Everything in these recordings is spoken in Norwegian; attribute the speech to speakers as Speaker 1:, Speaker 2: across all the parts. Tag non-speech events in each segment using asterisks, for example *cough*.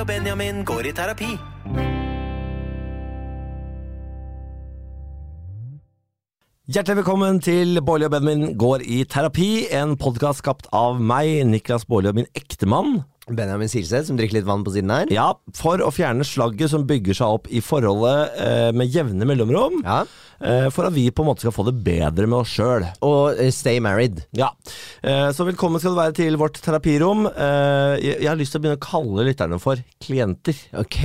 Speaker 1: og Benjamin går i terapi.
Speaker 2: Hjertelig velkommen til Bårli og Benjamin går i terapi, en podkast skapt av meg, Niklas Bårli og min ektemann.
Speaker 3: Benjamin Silseth som drikker litt vann på siden her.
Speaker 2: Ja, for å fjerne slagget som bygger seg opp i forholdet eh, med jevne mellomrom.
Speaker 3: Ja.
Speaker 2: Eh, for at vi på en måte skal få det bedre med oss sjøl.
Speaker 3: Og eh, Stay Married.
Speaker 2: Ja. Eh, så velkommen skal du være til vårt terapirom. Eh, jeg, jeg har lyst til å begynne å kalle lytterne for klienter.
Speaker 3: Ok.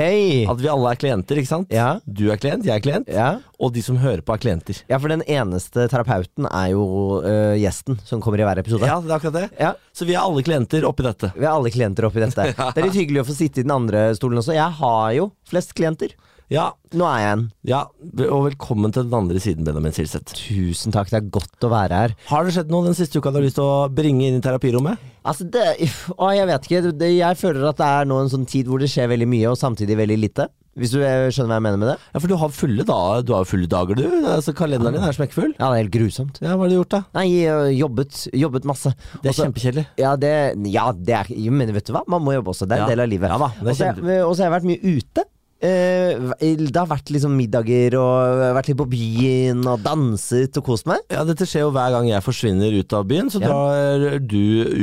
Speaker 2: At vi alle er klienter, ikke sant?
Speaker 3: Ja.
Speaker 2: Du er klient, jeg er klient,
Speaker 3: Ja.
Speaker 2: og de som hører på, er klienter.
Speaker 3: ja, for den eneste terapeuten er jo eh, gjesten som kommer i hver episode.
Speaker 2: Ja, det er akkurat det.
Speaker 3: Ja.
Speaker 2: Så vi er alle klienter oppi dette.
Speaker 3: Vi er alle klienter
Speaker 2: *laughs*
Speaker 3: oppi dette. Det er litt hyggelig å få sitte i den andre stolen også. Jeg har jo flest klienter.
Speaker 2: Ja,
Speaker 3: Nå er jeg en.
Speaker 2: Ja, og velkommen til den andre siden, Benjamin Silseth.
Speaker 3: Tusen takk, det er godt å være her.
Speaker 2: Har det skjedd noe den siste uka du har lyst til å bringe inn i terapirommet?
Speaker 3: Altså, det, å, jeg vet ikke. Det, jeg føler at det er nå en sånn tid hvor det skjer veldig mye, og samtidig veldig lite. Hvis du eh, skjønner hva jeg mener med det?
Speaker 2: Ja, for du har fulle, da. du har jo fulle dager, du. Altså, kalenderen din er smekkfull.
Speaker 3: Ja, det er helt grusomt.
Speaker 2: Ja, Hva har du gjort, da? Altså,
Speaker 3: Nei, jeg jobbet, jobbet masse.
Speaker 2: Det er
Speaker 3: Også-
Speaker 2: kjempekjedelig.
Speaker 3: Ja, det, ja det er, jo, men vet du hva? Man må jobbe også. Det er en
Speaker 2: Ja.
Speaker 3: del av livet.
Speaker 2: Ja da, det
Speaker 3: og så har
Speaker 2: kjenner
Speaker 3: jeg- og så har jeg vært mye ute. Eh, det har vært liksom middager og vært litt på byen og danset og kost meg.
Speaker 2: Ja, Dette skjer jo hver gang jeg forsvinner ut av byen, så
Speaker 3: Ja.
Speaker 2: drar du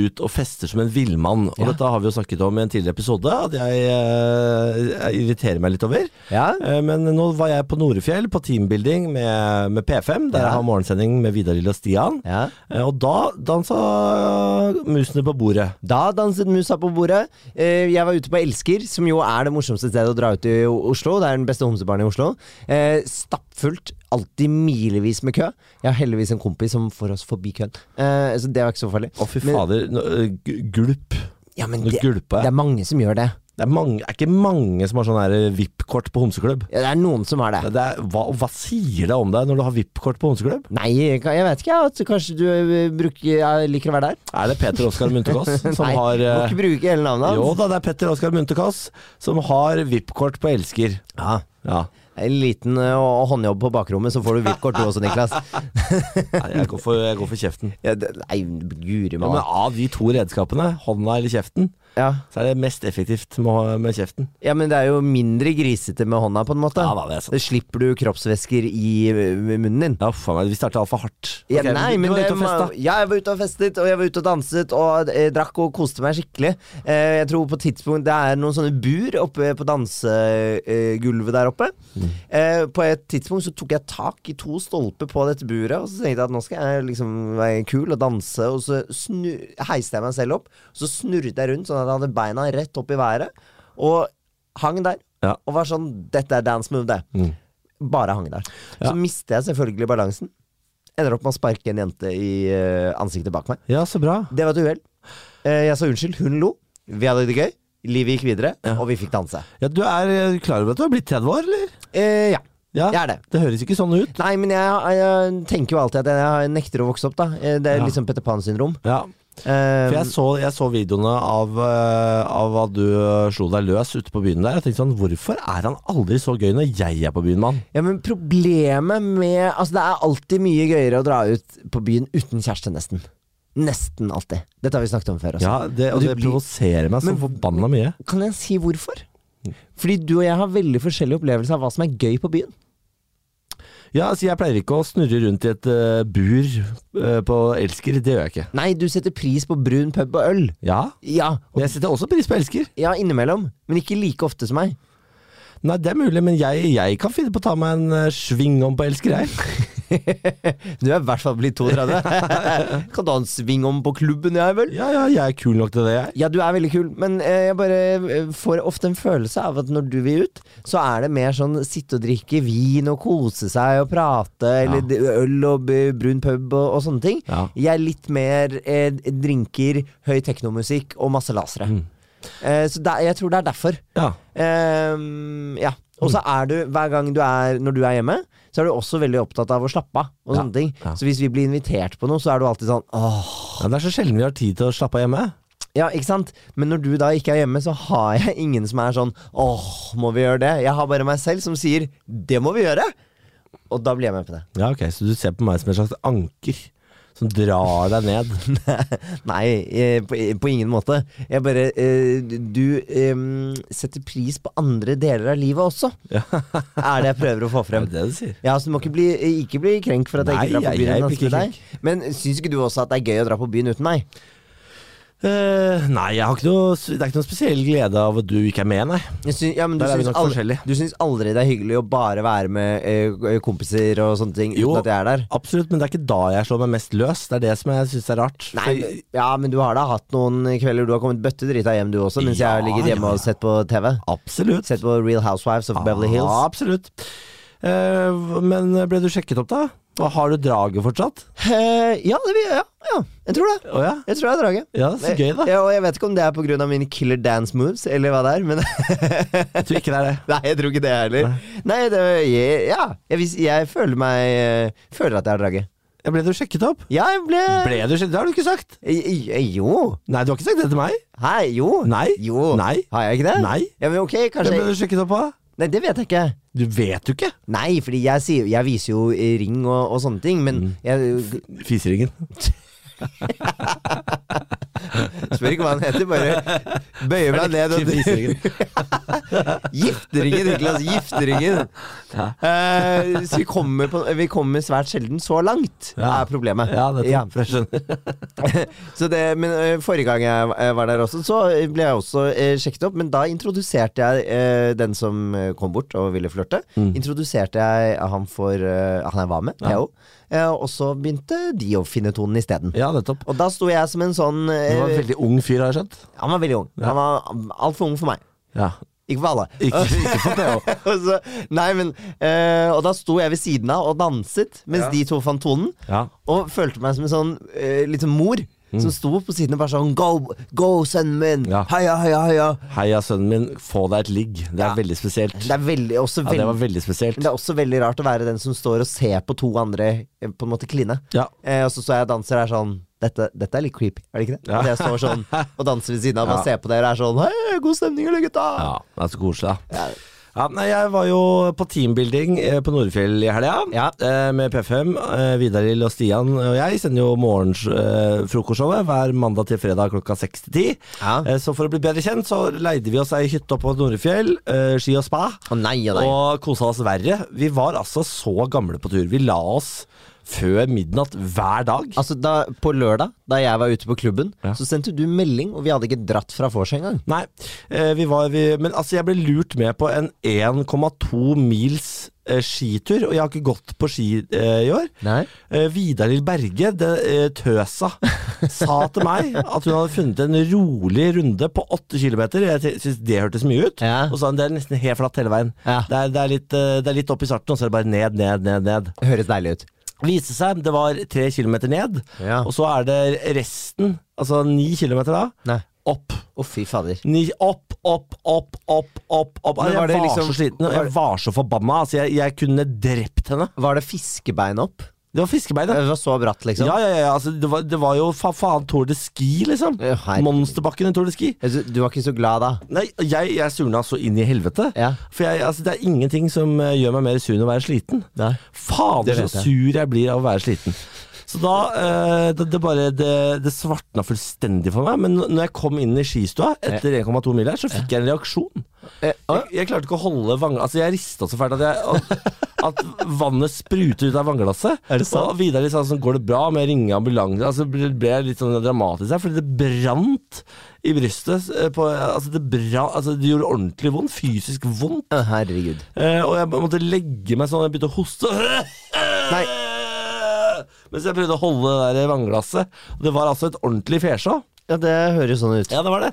Speaker 2: ut og fester som en villmann. Og
Speaker 3: Ja.
Speaker 2: dette har vi jo snakket om i en tidligere episode, at jeg, eh, jeg irriterer meg litt over.
Speaker 3: Ja.
Speaker 2: Eh, Men nå var jeg på Norefjell på teambuilding med, med P5, der
Speaker 3: Ja.
Speaker 2: jeg har morgensending med Vidar Lill og Stian.
Speaker 3: Ja.
Speaker 2: Eh, Og da dansa musene på bordet.
Speaker 3: Da danset musa på bordet. Eh, jeg var ute på Elsker, som jo er det morsomste stedet å dra ut i O- Oslo. Det er den beste homsebaren i Oslo. Eh, stappfullt. Alltid milevis med kø. Jeg har heldigvis en kompis som får oss forbi køen, eh, så det var ikke så farlig.
Speaker 2: Å, fy
Speaker 3: Men-
Speaker 2: fader. Nå, øh, gu- gulp.
Speaker 3: Ja, men
Speaker 2: Nå
Speaker 3: det, det
Speaker 2: gulpa
Speaker 3: er
Speaker 2: jeg.
Speaker 3: mange som gjør det.
Speaker 2: Det er, mange, er ikke mange som har sånn her VIP-kort på homseklubb.
Speaker 3: Ja, det er noen som har det.
Speaker 2: Det er, hva, hva sier det om deg når du har VIP-kort på homseklubb?
Speaker 3: Nei, jeg kan- jeg vet ikke. jeg, At kanskje du eh, bruker, jeg liker å være der?
Speaker 2: Er det Peter Oskar
Speaker 3: *laughs*
Speaker 2: Munterkaas som
Speaker 3: Nei,
Speaker 2: har
Speaker 3: Må
Speaker 2: eh,
Speaker 3: ikke bruke hele navnet
Speaker 2: Jo
Speaker 3: hans.
Speaker 2: da, det er Petter Oskar Munterkaas som har VIP-kort på Elsker.
Speaker 3: Ja.
Speaker 2: Ja,
Speaker 3: En liten eh, og- håndjobb på bakrommet, så får du hvitt kort du
Speaker 2: *laughs*
Speaker 3: også, Niklas.
Speaker 2: Nei, jeg går for, jeg går for kjeften.
Speaker 3: Ja, det, nei, guri
Speaker 2: Ja, men
Speaker 3: malla.
Speaker 2: av de to redskapene, hånda eller kjeften,
Speaker 3: Ja.
Speaker 2: så er det mest effektivt med, med kjeften.
Speaker 3: ja, men det er jo mindre grisete med hånda, på en måte.
Speaker 2: Ja, da, det er sant.
Speaker 3: Da slipper du kroppsvæsker i eh, munnen din.
Speaker 2: Ja, faen meg, vi starta altfor hardt.
Speaker 3: Ja,
Speaker 2: Ok, men
Speaker 3: nei,
Speaker 2: du- du
Speaker 3: men
Speaker 2: var
Speaker 3: det,
Speaker 2: ute og festa.
Speaker 3: ma- ja, jeg var ute og festet, og jeg var ute og danset og eh, drakk og koste meg skikkelig. Eh, jeg tror på et tidspunkt Det er noen sånne bur oppe på dansegulvet der oppe.
Speaker 2: Mm.
Speaker 3: Eh, på et tidspunkt så tok jeg tak i to stolper på dette buret, og så tenkte jeg at nå skal jeg liksom være kul og danse, og så snu, heiste jeg meg selv opp. Så snurret jeg rundt sånn at jeg hadde beina rett opp i været, og hang der.
Speaker 2: Ja. Mm.
Speaker 3: Og var sånn Dette er dance move, det. Bare hang der. Så
Speaker 2: Ja.
Speaker 3: mister jeg selvfølgelig balansen. Ender opp med å sparke en jente i eh, ansiktet bak meg.
Speaker 2: Ja, så bra.
Speaker 3: Det var et uhell. Eh, jeg sa unnskyld, hun lo. Vi hadde det gøy. Livet gikk videre, og vi fikk danse.
Speaker 2: Ja, du er eh, klar over at du har blitt 30 år, eller?
Speaker 3: Eh, ja.
Speaker 2: Ja,
Speaker 3: Jeg er det.
Speaker 2: høres ikke sånn ut.
Speaker 3: Nei, men jeg, jeg tenker jo alltid at jeg, jeg nekter å vokse opp, da. Eh, Det er
Speaker 2: Ja.
Speaker 3: liksom Petter Pan-syndrom.
Speaker 2: Ja,
Speaker 3: Eh,
Speaker 2: for jeg så, jeg så videoene av, eh, av at du eh, slo deg løs ute på byen der. Jeg tenkte sånn, hvorfor er han aldri så gøy når jeg er på byen, mann?
Speaker 3: ja, men problemet med Altså, det er alltid mye gøyere å dra ut på byen uten kjæreste, nesten. Nesten alltid. Dette har vi snakket om før. Også.
Speaker 2: Ja, det, og
Speaker 3: du
Speaker 2: det
Speaker 3: blir-
Speaker 2: provoserer meg så
Speaker 3: Men-
Speaker 2: forbanna mye.
Speaker 3: Kan jeg si hvorfor?
Speaker 2: Mm.
Speaker 3: Fordi du og jeg har veldig forskjellige opplevelser av hva som er gøy på byen.
Speaker 2: Ja, altså jeg pleier ikke å snurre rundt i et eh, bur eh, på Elsker, det gjør jeg ikke.
Speaker 3: Nei, du setter pris på brun pub og øl.
Speaker 2: Ja,
Speaker 3: Ja, og-
Speaker 2: men jeg setter også pris på Elsker.
Speaker 3: ja innimellom, men ikke like ofte som meg. *laughs*
Speaker 2: Nei, det er mulig, men jeg, jeg kan finne på å ta meg en eh, sving om på Elsker, jeg.
Speaker 3: Du er i hvert fall blitt 32. *laughs* kan ta en sving om på klubben, jeg vel?
Speaker 2: *laughs* Ja, ja, jeg er kul nok til det, jeg.
Speaker 3: Ja, du er veldig kul, men eh, jeg bare eh, får ofte en følelse av at når du vil ut, så er det mer sånn sitte og drikke vin og kose seg og prate, eller d- øl og b- brun pub og, og sånne ting.
Speaker 2: Ja.
Speaker 3: Jeg er litt mer eh, drinker, høy teknomusikk og masse lasere. Eh, så det, er- jeg tror det er derfor.
Speaker 2: Ja.
Speaker 3: Ehm, ja. Og så er du, hver gang du er når du er hjemme, så er du også veldig opptatt av å slappe av. og
Speaker 2: Ja,
Speaker 3: sånne ting
Speaker 2: ja.
Speaker 3: Så hvis vi blir invitert på noe, så er du alltid sånn åh.
Speaker 2: ja. Det er så sjelden vi har tid til å slappe av hjemme.
Speaker 3: Ja, ikke sant? Men når du da ikke er hjemme, så har jeg *laughs* ingen som er sånn åh, må vi gjøre det? Jeg har bare meg selv som sier det må vi gjøre! Og da blir jeg med på det.
Speaker 2: Ja, ok, Så du ser på meg som en slags anker Som drar deg ned.
Speaker 3: *laughs* Nei, eh, på, på ingen måte. Jeg bare eh, Du em, setter pris på andre deler av livet også, er det jeg prøver å
Speaker 2: Det
Speaker 3: få
Speaker 2: er
Speaker 3: frem.
Speaker 2: det du sier.
Speaker 3: Ja, så Du må ikke bli, ikke bli krenk for at jeg
Speaker 2: Nei,
Speaker 3: ikke drar på
Speaker 2: jeg- jeg
Speaker 3: byen
Speaker 2: blir
Speaker 3: danse med
Speaker 2: ikke
Speaker 3: deg. Men syns ikke du også at det er gøy å dra på byen uten meg?
Speaker 2: Eh, nei, jeg har ikke noe, det er ikke noe spesiell glede av at du ikke er med, nei.
Speaker 3: Jeg syns- ja, men du
Speaker 2: Der er vi
Speaker 3: syns
Speaker 2: nok
Speaker 3: aldri,
Speaker 2: forskjellige.
Speaker 3: du syns aldri det er hyggelig å bare være med eh, kompiser og sånne ting
Speaker 2: Jo.
Speaker 3: uten at jeg er der?
Speaker 2: Absolutt, men det er ikke da jeg slår meg mest løs. Det er det som jeg syns er rart.
Speaker 3: Nei, men, ja, men du har da hatt noen kvelder du har kommet bøttedrita hjem du også, mens
Speaker 2: Ja,
Speaker 3: jeg har ligget hjemme
Speaker 2: ja,
Speaker 3: og sett på TV.
Speaker 2: Absolutt.
Speaker 3: Sett på Real Housewives of Beverly Hills.
Speaker 2: Ja, absolutt. Eh, men ble du sjekket opp, da? Og har du draget fortsatt?
Speaker 3: Eh, ja, det vil jeg. Ja, ja, jeg tror det.
Speaker 2: Å ja.
Speaker 3: Jeg tror jeg er draget.
Speaker 2: ja, så gøy, da.
Speaker 3: Ja, og jeg vet ikke om det er pga. mine killer dance moves, eller hva det er, men
Speaker 2: Jeg tror ikke det er det.
Speaker 3: *laughs* Nei, jeg tror ikke det heller. Nei, det, jeg, ja, jeg, vis- jeg føler meg eh, Føler at jeg er draget.
Speaker 2: Ja, Ble du sjekket opp?
Speaker 3: Ja, jeg ble,
Speaker 2: Ble du sjekket? Det har du ikke sagt.
Speaker 3: I- i- Jo.
Speaker 2: Nei, du har ikke sagt det til meg.
Speaker 3: Hei, jo.
Speaker 2: Nei.
Speaker 3: Jo.
Speaker 2: Nei.
Speaker 3: Har jeg ikke det?
Speaker 2: Nei.
Speaker 3: Ja, men ok,
Speaker 2: Hvem
Speaker 3: kanskje
Speaker 2: ble du sjekket opp av?
Speaker 3: Nei, det vet jeg ikke.
Speaker 2: Du vet jo ikke.
Speaker 3: Nei, fordi jeg, sier, jeg viser jo eh, ring og, og sånne ting,
Speaker 2: Mm.
Speaker 3: men
Speaker 2: *laughs*
Speaker 3: jeg
Speaker 2: Fiseringen.
Speaker 3: spør ikke hva han heter. Bare bøyer meg ned
Speaker 2: *laughs*
Speaker 3: og
Speaker 2: Fiseringen.
Speaker 3: Gifteringen, Niklas. Gifteringen. Eh, så vi kommer, på, vi kommer svært sjelden så langt,
Speaker 2: Ja.
Speaker 3: er problemet.
Speaker 2: Ja, det
Speaker 3: Ja. *laughs*
Speaker 2: jeg skjønner. *laughs*
Speaker 3: Så det, men eh, forrige gang jeg eh, var der også, så ble jeg også eh, sjekket opp. Men da introduserte jeg eh, den som eh, kom bort og ville flørte.
Speaker 2: Mm.
Speaker 3: Introduserte jeg han for eh, han jeg var med, Theo. Eh, og så begynte de å finne tonen isteden.
Speaker 2: Ja, nettopp.
Speaker 3: Og da sto jeg som en sånn
Speaker 2: Du
Speaker 3: eh,
Speaker 2: var en veldig ung fyr, har jeg skjønt.
Speaker 3: Han var veldig ung. Han var altfor ung for meg.
Speaker 2: Ja.
Speaker 3: Ikke for alle. *laughs*
Speaker 2: Ikke, ikke for det òg.
Speaker 3: og, så, nei, men, eh, og da sto jeg ved siden av og danset mens de to fant tonen.
Speaker 2: Ja. Mm.
Speaker 3: Og følte meg som en sånn eh, liten mor som sto på siden og bare sånn Go, go sønnen min!
Speaker 2: Ja.
Speaker 3: Heia, heia, heia!
Speaker 2: Heia, sønnen min, få deg et ligg. Det er
Speaker 3: Ja.
Speaker 2: veldig spesielt.
Speaker 3: Det er, veldig, også
Speaker 2: Ja,
Speaker 3: veldig,
Speaker 2: det var
Speaker 3: det,
Speaker 2: veldig spesielt.
Speaker 3: er også veldig rart å være den som står og ser på to andre eh, på en måte kline.
Speaker 2: Ja.
Speaker 3: Eh, og så så jeg danser her sånn dette, dette er litt creepy, er det ikke det?
Speaker 2: Ja.
Speaker 3: At jeg står sånn og danser ved siden av og
Speaker 2: Ja.
Speaker 3: bare ser på dere og er sånn Hei, god stemning, eller gutta?
Speaker 2: ja. Det er så koselig, da. Ja, nei, jeg var jo på teambuilding eh, på Nordfjell i helga
Speaker 3: Ja.
Speaker 2: eh, med P5. Eh, Vidar-Lill og Stian og jeg sender jo morgensfrokostshowet eh, frokostshowet hver mandag til fredag klokka seks til ti.
Speaker 3: Ja.
Speaker 2: Eh, så for å bli bedre kjent, så leide vi oss ei hytte oppe på Nordfjell, eh, ski og spa,
Speaker 3: Å nei, å nei.
Speaker 2: og kosa oss verre. Vi var altså så gamle på tur. Vi la oss før midnatt hver dag.
Speaker 3: Altså da, På lørdag, da jeg var ute på klubben,
Speaker 2: Ja.
Speaker 3: så sendte du melding, og vi hadde ikke dratt fra vors engang.
Speaker 2: Nei, eh, vi var, vi, men altså jeg ble lurt med på en 1,2 mils eh, skitur, og jeg har ikke gått på ski eh, i år.
Speaker 3: Nei.
Speaker 2: Eh, Vidar Lill Berge, det, eh,
Speaker 3: *laughs*
Speaker 2: tøsa, sa til meg at hun hadde funnet en rolig runde på 8 km. Jeg syns det hørtes mye ut.
Speaker 3: Ja.
Speaker 2: Og så sa hun det er nesten helt flatt hele veien.
Speaker 3: Ja.
Speaker 2: Det, er, det, er litt, eh, det er litt opp i starten, og så er det bare ned, ned, ned. ned.
Speaker 3: Høres deilig ut.
Speaker 2: Viste seg, det var 3 km ned,
Speaker 3: Ja.
Speaker 2: og så er det resten, altså 9 km da,
Speaker 3: Nei.
Speaker 2: opp.
Speaker 3: Å, fy fader.
Speaker 2: Ni, opp, opp, opp, opp, opp, opp.
Speaker 3: Men
Speaker 2: Jeg
Speaker 3: var
Speaker 2: var,
Speaker 3: det liksom-
Speaker 2: så sliten og jeg var så forbanna. Altså, jeg, jeg kunne drept henne.
Speaker 3: Var det fiskebein opp?
Speaker 2: Det var fiskebein.
Speaker 3: Det
Speaker 2: da.
Speaker 3: var så bratt, liksom?
Speaker 2: Ja, ja, ja, altså, det, var, det var jo fa faen Tour de Ski, liksom.
Speaker 3: Ja, herregud.
Speaker 2: Monsterbakken i Tour de Ski.
Speaker 3: Altså, Du var ikke så glad da?
Speaker 2: Nei, jeg, jeg surna så inn i helvete.
Speaker 3: Ja.
Speaker 2: For jeg, altså, det er ingenting som eh, gjør meg mer sur enn å være sliten.
Speaker 3: Nei. Det
Speaker 2: Fader,
Speaker 3: vet
Speaker 2: så
Speaker 3: jeg.
Speaker 2: sur jeg blir av å være sliten. Så da eh, det, det bare det, det svartna fullstendig for meg. Men når jeg kom inn i skistua etter 1,2 mil her, så fikk jeg en reaksjon.
Speaker 3: Eh, å,
Speaker 2: Jeg, jeg klarte ikke å holde vannglasset Altså Jeg rista så fælt at, jeg, at, at vannet sprutet ut av vannglasset.
Speaker 3: Er det sant?
Speaker 2: Og Vidar litt sånn sånn, 'Går det bra?' med ringe ambulanse. Altså ble ble jeg litt sånn dramatisk her, fordi det brant i brystet. eh, På, altså, det bra, altså Det gjorde ordentlig vondt. Fysisk vondt.
Speaker 3: å, herregud.
Speaker 2: Eh, og jeg måtte legge meg sånn, jeg begynte å hoste. *laughs*
Speaker 3: Nei.
Speaker 2: Mens jeg prøvde å holde det der vannglasset. Og Det var altså et ordentlig fesjå.
Speaker 3: Ja, det høres sånn ut.
Speaker 2: Ja, det var det.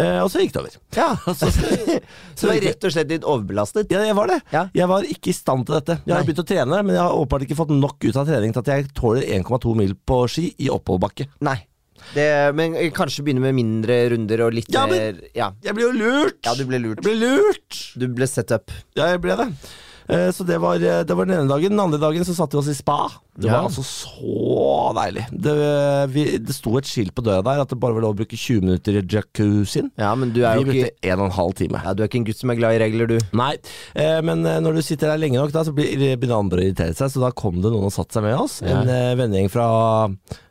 Speaker 2: Eh, og så gikk det over.
Speaker 3: Ja.
Speaker 2: Altså,
Speaker 3: *laughs* Så du var rett og slett litt overbelastet?
Speaker 2: Ja, jeg var det.
Speaker 3: Ja.
Speaker 2: Jeg var ikke i stand til dette. Jeg har
Speaker 3: Nei.
Speaker 2: begynt å trene, men jeg har åpenbart ikke fått nok ut av trening til at jeg tåler 1,2 mil på ski i oppoverbakke.
Speaker 3: Nei. Det, men kanskje begynne med mindre runder og litt
Speaker 2: Ja, men-
Speaker 3: mer ja.
Speaker 2: Jeg ble jo lurt!
Speaker 3: ja, du ble lurt.
Speaker 2: Jeg ble lurt!
Speaker 3: Du ble set up.
Speaker 2: Ja, jeg ble det. Eh, Så det var, eh, det var den ene dagen. Den andre dagen så satte vi oss i spa. Det
Speaker 3: Ja.
Speaker 2: var altså så deilig. Det, vi, det sto et skilt på døra der at det bare var lov å bruke 20 minutter i jacuzzien.
Speaker 3: Ja, men du
Speaker 2: Vi
Speaker 3: er jo ikke
Speaker 2: brukte en og en halv time.
Speaker 3: ja, Du er ikke en gutt som er glad i regler, du.
Speaker 2: Nei, eh, men eh, når du sitter der lenge nok, da, så blir, eh, begynner andre å irritere seg. Så da kom det noen og satte seg med oss.
Speaker 3: Ja.
Speaker 2: En eh, vennegjeng fra,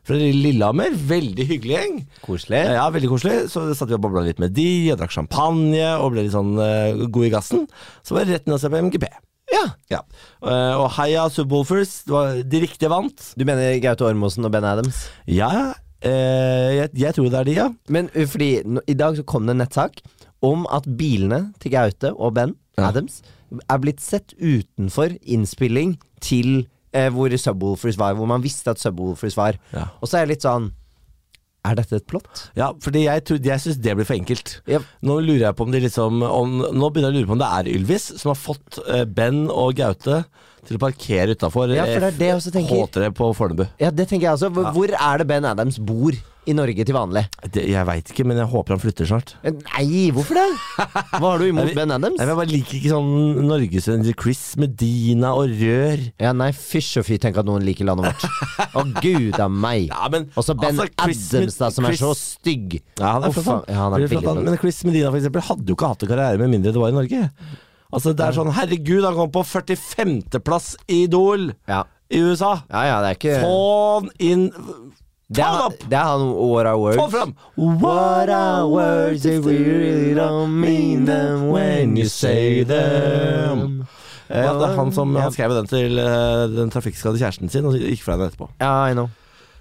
Speaker 2: fra Lillehammer. Veldig hyggelig gjeng.
Speaker 3: Koselig.
Speaker 2: Ja, ja, veldig koselig. Så satt vi og babla litt med de, og drakk champagne og ble litt sånn eh, god i gassen. Så var det rett ned og se på MGP.
Speaker 3: Ja.
Speaker 2: Ja. Eh, og heia Subwoolfers. Det var de riktige vant.
Speaker 3: Du mener Gaute Ormåsen og Ben Adams?
Speaker 2: Ja, eh, jeg, jeg tror det er de, ja.
Speaker 3: Men ø, fordi nå- i dag så kom det en nettsak om at bilene til Gaute og Ben
Speaker 2: Ja.
Speaker 3: Adams er blitt sett utenfor innspilling til eh, hvor Subwoolfers var, hvor man visste at Subwoolfers var.
Speaker 2: Ja.
Speaker 3: Og så er jeg litt sånn Er dette et plott?
Speaker 2: Ja, fordi jeg, tror- jeg syns det blir for enkelt.
Speaker 3: Ja.
Speaker 2: Nå lurer jeg på om de liksom om, Nå begynner jeg å lure på om det er Ylvis som har fått eh, Ben og Gaute til å parkere utafor
Speaker 3: Ja, for det er det jeg også tenker.
Speaker 2: H3 på Fornebu.
Speaker 3: Ja, det tenker jeg også. Hvor, hvor er det Ben Adams bor i Norge til vanlig? Eh,
Speaker 2: Det- Jeg veit ikke, men jeg håper han flytter snart.
Speaker 3: Nei, hvorfor det? Hva har du imot
Speaker 2: *laughs* Nei,
Speaker 3: Ben Adams?
Speaker 2: Nei, men Jeg bare liker ikke sånn norgesvenner Chris Medina og rør.
Speaker 3: Ja, nei, fysj og fy, tenk at noen liker landet vårt.
Speaker 2: *laughs*
Speaker 3: Å, gud a meg.
Speaker 2: Ja, men
Speaker 3: Og så Ben
Speaker 2: altså, Chris
Speaker 3: Adams, da, som
Speaker 2: Chris-
Speaker 3: er så stygg.
Speaker 2: Ja, han er
Speaker 3: Å,
Speaker 2: flott,
Speaker 3: faen.
Speaker 2: han.
Speaker 3: Ja, han er
Speaker 2: Veldig
Speaker 3: veldig
Speaker 2: flott, han.
Speaker 3: flott.
Speaker 2: Men Chris Medina for eksempel, hadde jo ikke hatt en karriere med mindre det var i Norge. Altså det er sånn, Herregud, han kom på 45.-plass i Idol
Speaker 3: Ja.
Speaker 2: i USA!
Speaker 3: ja, ja, det er ikke
Speaker 2: På'n inn
Speaker 3: det er,
Speaker 2: faen
Speaker 3: han-
Speaker 2: opp!
Speaker 3: det er han What Are Words.
Speaker 2: Få fram!
Speaker 3: What are words if we really don't mean them when you say them?
Speaker 2: Ja, det er han som
Speaker 3: Ja.
Speaker 2: han skrev den til eh, den trafikkskadde kjæresten sin, og gikk fra henne etterpå.
Speaker 3: Ja, I know.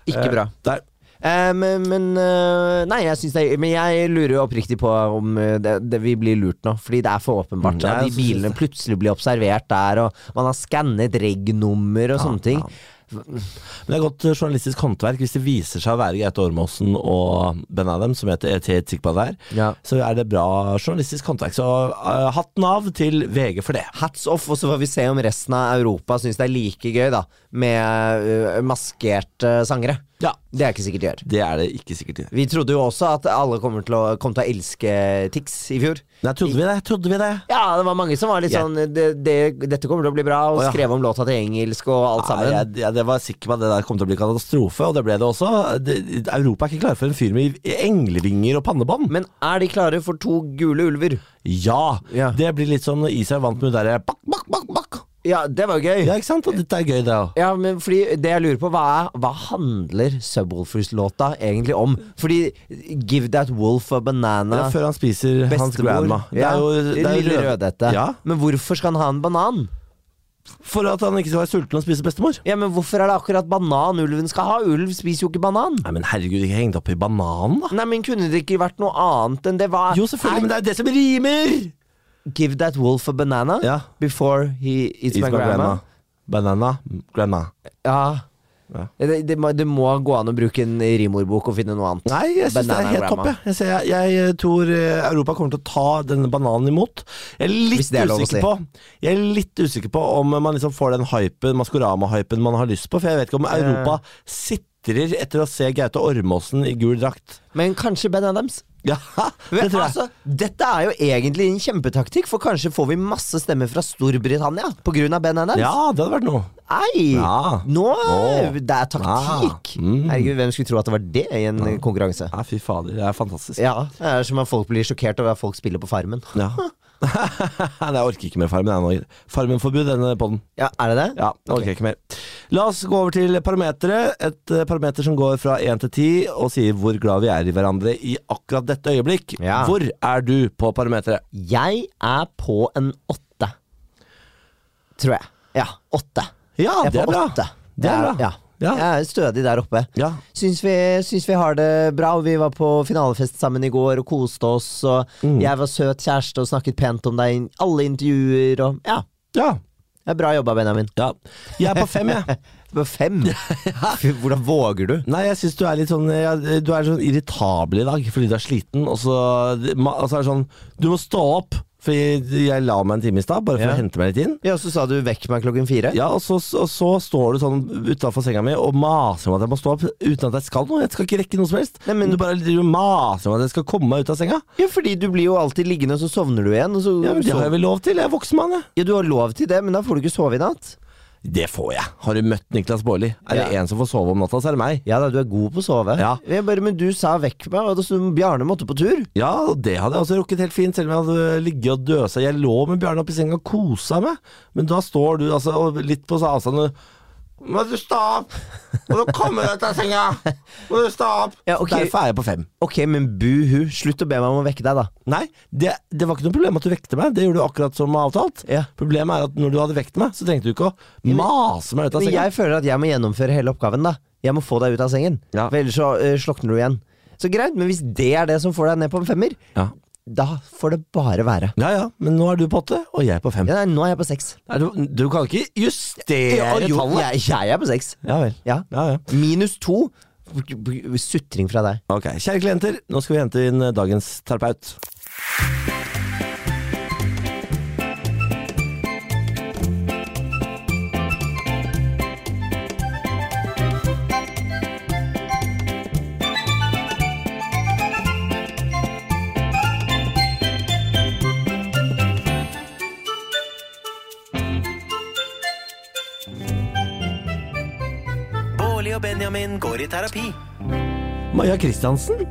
Speaker 3: Ikke
Speaker 2: Eh,
Speaker 3: bra.
Speaker 2: Der.
Speaker 3: Eh, men men eh, Nei, jeg syns det er Men jeg lurer jo oppriktig på om eh, det, det, vi blir lurt nå. Fordi det er for åpenbart.
Speaker 2: Mm, jeg
Speaker 3: at de
Speaker 2: synes
Speaker 3: bilene
Speaker 2: det.
Speaker 3: plutselig blir observert der, og man har skannet reg-nummer og sånne ting.
Speaker 2: Ah, Men det er godt eh, journalistisk håndverk hvis det viser seg å være Gaute Ormåsen og Ben Adam, som heter ET Tikba der.
Speaker 3: Ja.
Speaker 2: Så er det bra journalistisk håndverk. Så eh, hatten av til VG for det.
Speaker 3: Hats off, og så får vi se om resten av Europa syns det er like gøy, da. Med eh, maskerte sangere.
Speaker 2: Ja,
Speaker 3: Det er ikke sikkert de gjør.
Speaker 2: det er det ikke sikkert. i.
Speaker 3: Vi trodde jo også at alle kommer til å, kom til å elske Tix i fjor.
Speaker 2: Nei, trodde vi det? Trodde vi det?
Speaker 3: Ja, det var mange som var litt
Speaker 2: Ja.
Speaker 3: sånn det, det, 'Dette kommer til å bli bra', og
Speaker 2: Å, ja.
Speaker 3: skrev om låta til engelsk og alt
Speaker 2: Nei,
Speaker 3: sammen.
Speaker 2: jeg, jeg, jeg var sikker på at det der kom til å bli katastrofe, og det ble det også. Det, Europa er ikke klare for en fyr med englevinger og pannebånd.
Speaker 3: Men er de klare for to gule ulver?
Speaker 2: Ja,
Speaker 3: Ja.
Speaker 2: Det blir litt som når Israel vant med det derre bak, bak, bak, bak.
Speaker 3: Ja, det var jo gøy.
Speaker 2: Ja, ikke sant? Og dette er gøy, det òg.
Speaker 3: Ja, men fordi det jeg lurer på, hva, er, hva handler Subwoolfers-låta egentlig om? Fordi 'Give That Wolf a
Speaker 2: Det
Speaker 3: Banana'
Speaker 2: er før han spiser hans grandma. Det
Speaker 3: Ja,
Speaker 2: er jo, det er jo
Speaker 3: Lille
Speaker 2: rød-
Speaker 3: Rødhette.
Speaker 2: Ja,
Speaker 3: Men hvorfor skal han ha en banan?
Speaker 2: For at han ikke skal være sulten og spise bestemor.
Speaker 3: Ja, men Hvorfor er det akkurat banan ulven skal ha? Ulv spiser jo ikke banan.
Speaker 2: Nei, men herregud, ikke hengt opp i bananen, da.
Speaker 3: Nei, men Kunne det ikke vært noe annet enn det? Hva
Speaker 2: Jo, selvfølgelig, men det er jo det som rimer!
Speaker 3: Give that wolf a banana
Speaker 2: Ja.
Speaker 3: before he eats, my, grandma.
Speaker 2: Banana. Grandma.
Speaker 3: Ja.
Speaker 2: Ja.
Speaker 3: Det, det, må, det må gå an å bruke en rimordbok og finne noe annet.
Speaker 2: Nei, jeg syns det er
Speaker 3: Banana
Speaker 2: helt topp,
Speaker 3: grandma.
Speaker 2: jeg. Jeg, ser- jeg. jeg tror eh, Europa kommer til å ta denne bananen imot. Jeg er
Speaker 3: Hvis
Speaker 2: litt,
Speaker 3: det er lov å
Speaker 2: usikker,
Speaker 3: si.
Speaker 2: på, jeg er litt usikker på om man liksom får den hypen, Maskorama-hypen man har lyst på, for jeg vet ikke om Europa sitrer etter å se Gaute Ormåsen i gul drakt. *laughs*
Speaker 3: Men kanskje Ben Adams?
Speaker 2: Ja, det
Speaker 3: Men,
Speaker 2: tror jeg.
Speaker 3: altså, dette er jo egentlig en kjempetaktikk, for kanskje får vi masse stemmer fra Storbritannia pga. Ben Adams.
Speaker 2: Ja, det hadde vært noe.
Speaker 3: Ei!
Speaker 2: Ja.
Speaker 3: Nå
Speaker 2: Å.
Speaker 3: Det er taktikk!
Speaker 2: Ah. Mm.
Speaker 3: Herregud, hvem skulle tro at det var det i en eh, konkurranse?
Speaker 2: Ja, fy fader, det er fantastisk.
Speaker 3: Ja, Det er som om folk blir sjokkert over at folk spiller på Farmen.
Speaker 2: Ja. *laughs* Nei, jeg orker ikke mer Farmen. jeg nå. Farmen-forbud, denne podden.
Speaker 3: Ja, Er det det?
Speaker 2: Ja, jeg orker ikke mer. La oss gå over til parameteret. Et eh, parameter som går fra 1 til 10 og sier hvor glad vi er i hverandre i akkurat dette øyeblikk.
Speaker 3: Ja.
Speaker 2: Hvor er du på parameteret?
Speaker 3: Jeg er på en åtte. Tror jeg. Ja, åtte.
Speaker 2: Ja,
Speaker 3: jeg
Speaker 2: det er bra.
Speaker 3: Åtte.
Speaker 2: Det er
Speaker 3: Jeg
Speaker 2: bra.
Speaker 3: Ja.
Speaker 2: Ja.
Speaker 3: Jeg er stødig der oppe.
Speaker 2: Ja.
Speaker 3: Syns vi, syns vi har det bra. og Vi var på finalefest sammen i går og koste oss. Og
Speaker 2: Mm.
Speaker 3: jeg var søt kjæreste og snakket pent om deg i alle intervjuer. Og ja,
Speaker 2: Ja.
Speaker 3: det er bra jobba, Benjamin. *laughs*
Speaker 2: ja. Jeg er på fem, jeg.
Speaker 3: Du er fem. Fy, Hvordan våger du?
Speaker 2: *laughs* Nei, jeg syns du er litt sånn ja, Du er sånn irritabel i dag fordi du er sliten, og så ma- og så er det sånn Du må stå opp! For jeg, jeg la meg en time i stad, bare for
Speaker 3: Ja.
Speaker 2: å hente meg litt inn.
Speaker 3: Ja, så sa du 'vekk meg klokken fire'.
Speaker 2: Ja, og så, så, så står du sånn utafor senga mi og maser om at jeg må stå opp uten at jeg skal noe. Jeg skal ikke rekke noe som helst.
Speaker 3: Nei, men-
Speaker 2: du bare driver og maser om at jeg skal komme meg ut av senga.
Speaker 3: Ja, fordi du blir jo alltid liggende, og så sovner du igjen. Og så,
Speaker 2: Ja, men Det har jeg vel lov til? Jeg er voksen mann, jeg.
Speaker 3: ja, du har lov til det, men da får du ikke sove i natt.
Speaker 2: Det får jeg. Har du møtt Niklas Baarli? Er det
Speaker 3: Ja.
Speaker 2: en som får sove om natta, så er det meg.
Speaker 3: Ja da, du er god på å sove.
Speaker 2: Ja.
Speaker 3: Jeg bare, men du sa 'vekk meg', og da så Bjarne måtte på tur.
Speaker 2: Ja, og det hadde jeg også rukket helt fint, selv om jeg hadde ligget og døsa. Jeg lå med Bjarne oppi senga og kosa meg, men da står du altså og litt på avstand og Må du stå opp! Må du komme deg ut av senga! Må du stå opp!
Speaker 3: Ja, ok.
Speaker 2: Derfor er jeg på fem.
Speaker 3: Ok, men buhu, slutt å be meg om å vekke deg, da.
Speaker 2: Nei, det, det var ikke noe problem at du vekte meg. Det gjorde du akkurat som avtalt.
Speaker 3: Ja.
Speaker 2: Problemet er at når du hadde vekt meg, så trengte du ikke å mase meg ut av
Speaker 3: Men
Speaker 2: senga.
Speaker 3: Altså, jeg føler at jeg må gjennomføre hele oppgaven, da. Jeg må få deg ut av sengen.
Speaker 2: Ja.
Speaker 3: For ellers så eh, slokner du igjen. Så greit, men hvis det er det som får deg ned på en femmer,
Speaker 2: Ja.
Speaker 3: da får det bare være.
Speaker 2: ja ja, men nå er du på åtte, og jeg er på fem.
Speaker 3: Ja, nei, nå er jeg på seks.
Speaker 2: Nei, Du, du kan ikke justere
Speaker 3: Ja, jo,
Speaker 2: tallet.
Speaker 3: jeg, jeg er på seks.
Speaker 2: Ja vel.
Speaker 3: Ja.
Speaker 2: Ja, ja.
Speaker 3: Minus to. Sutring fra deg.
Speaker 2: Ok, Kjære klienter, nå skal vi hente inn eh, dagens terapeut.
Speaker 1: Bårli og Benjamin går i terapi.
Speaker 2: Maja Kristiansen,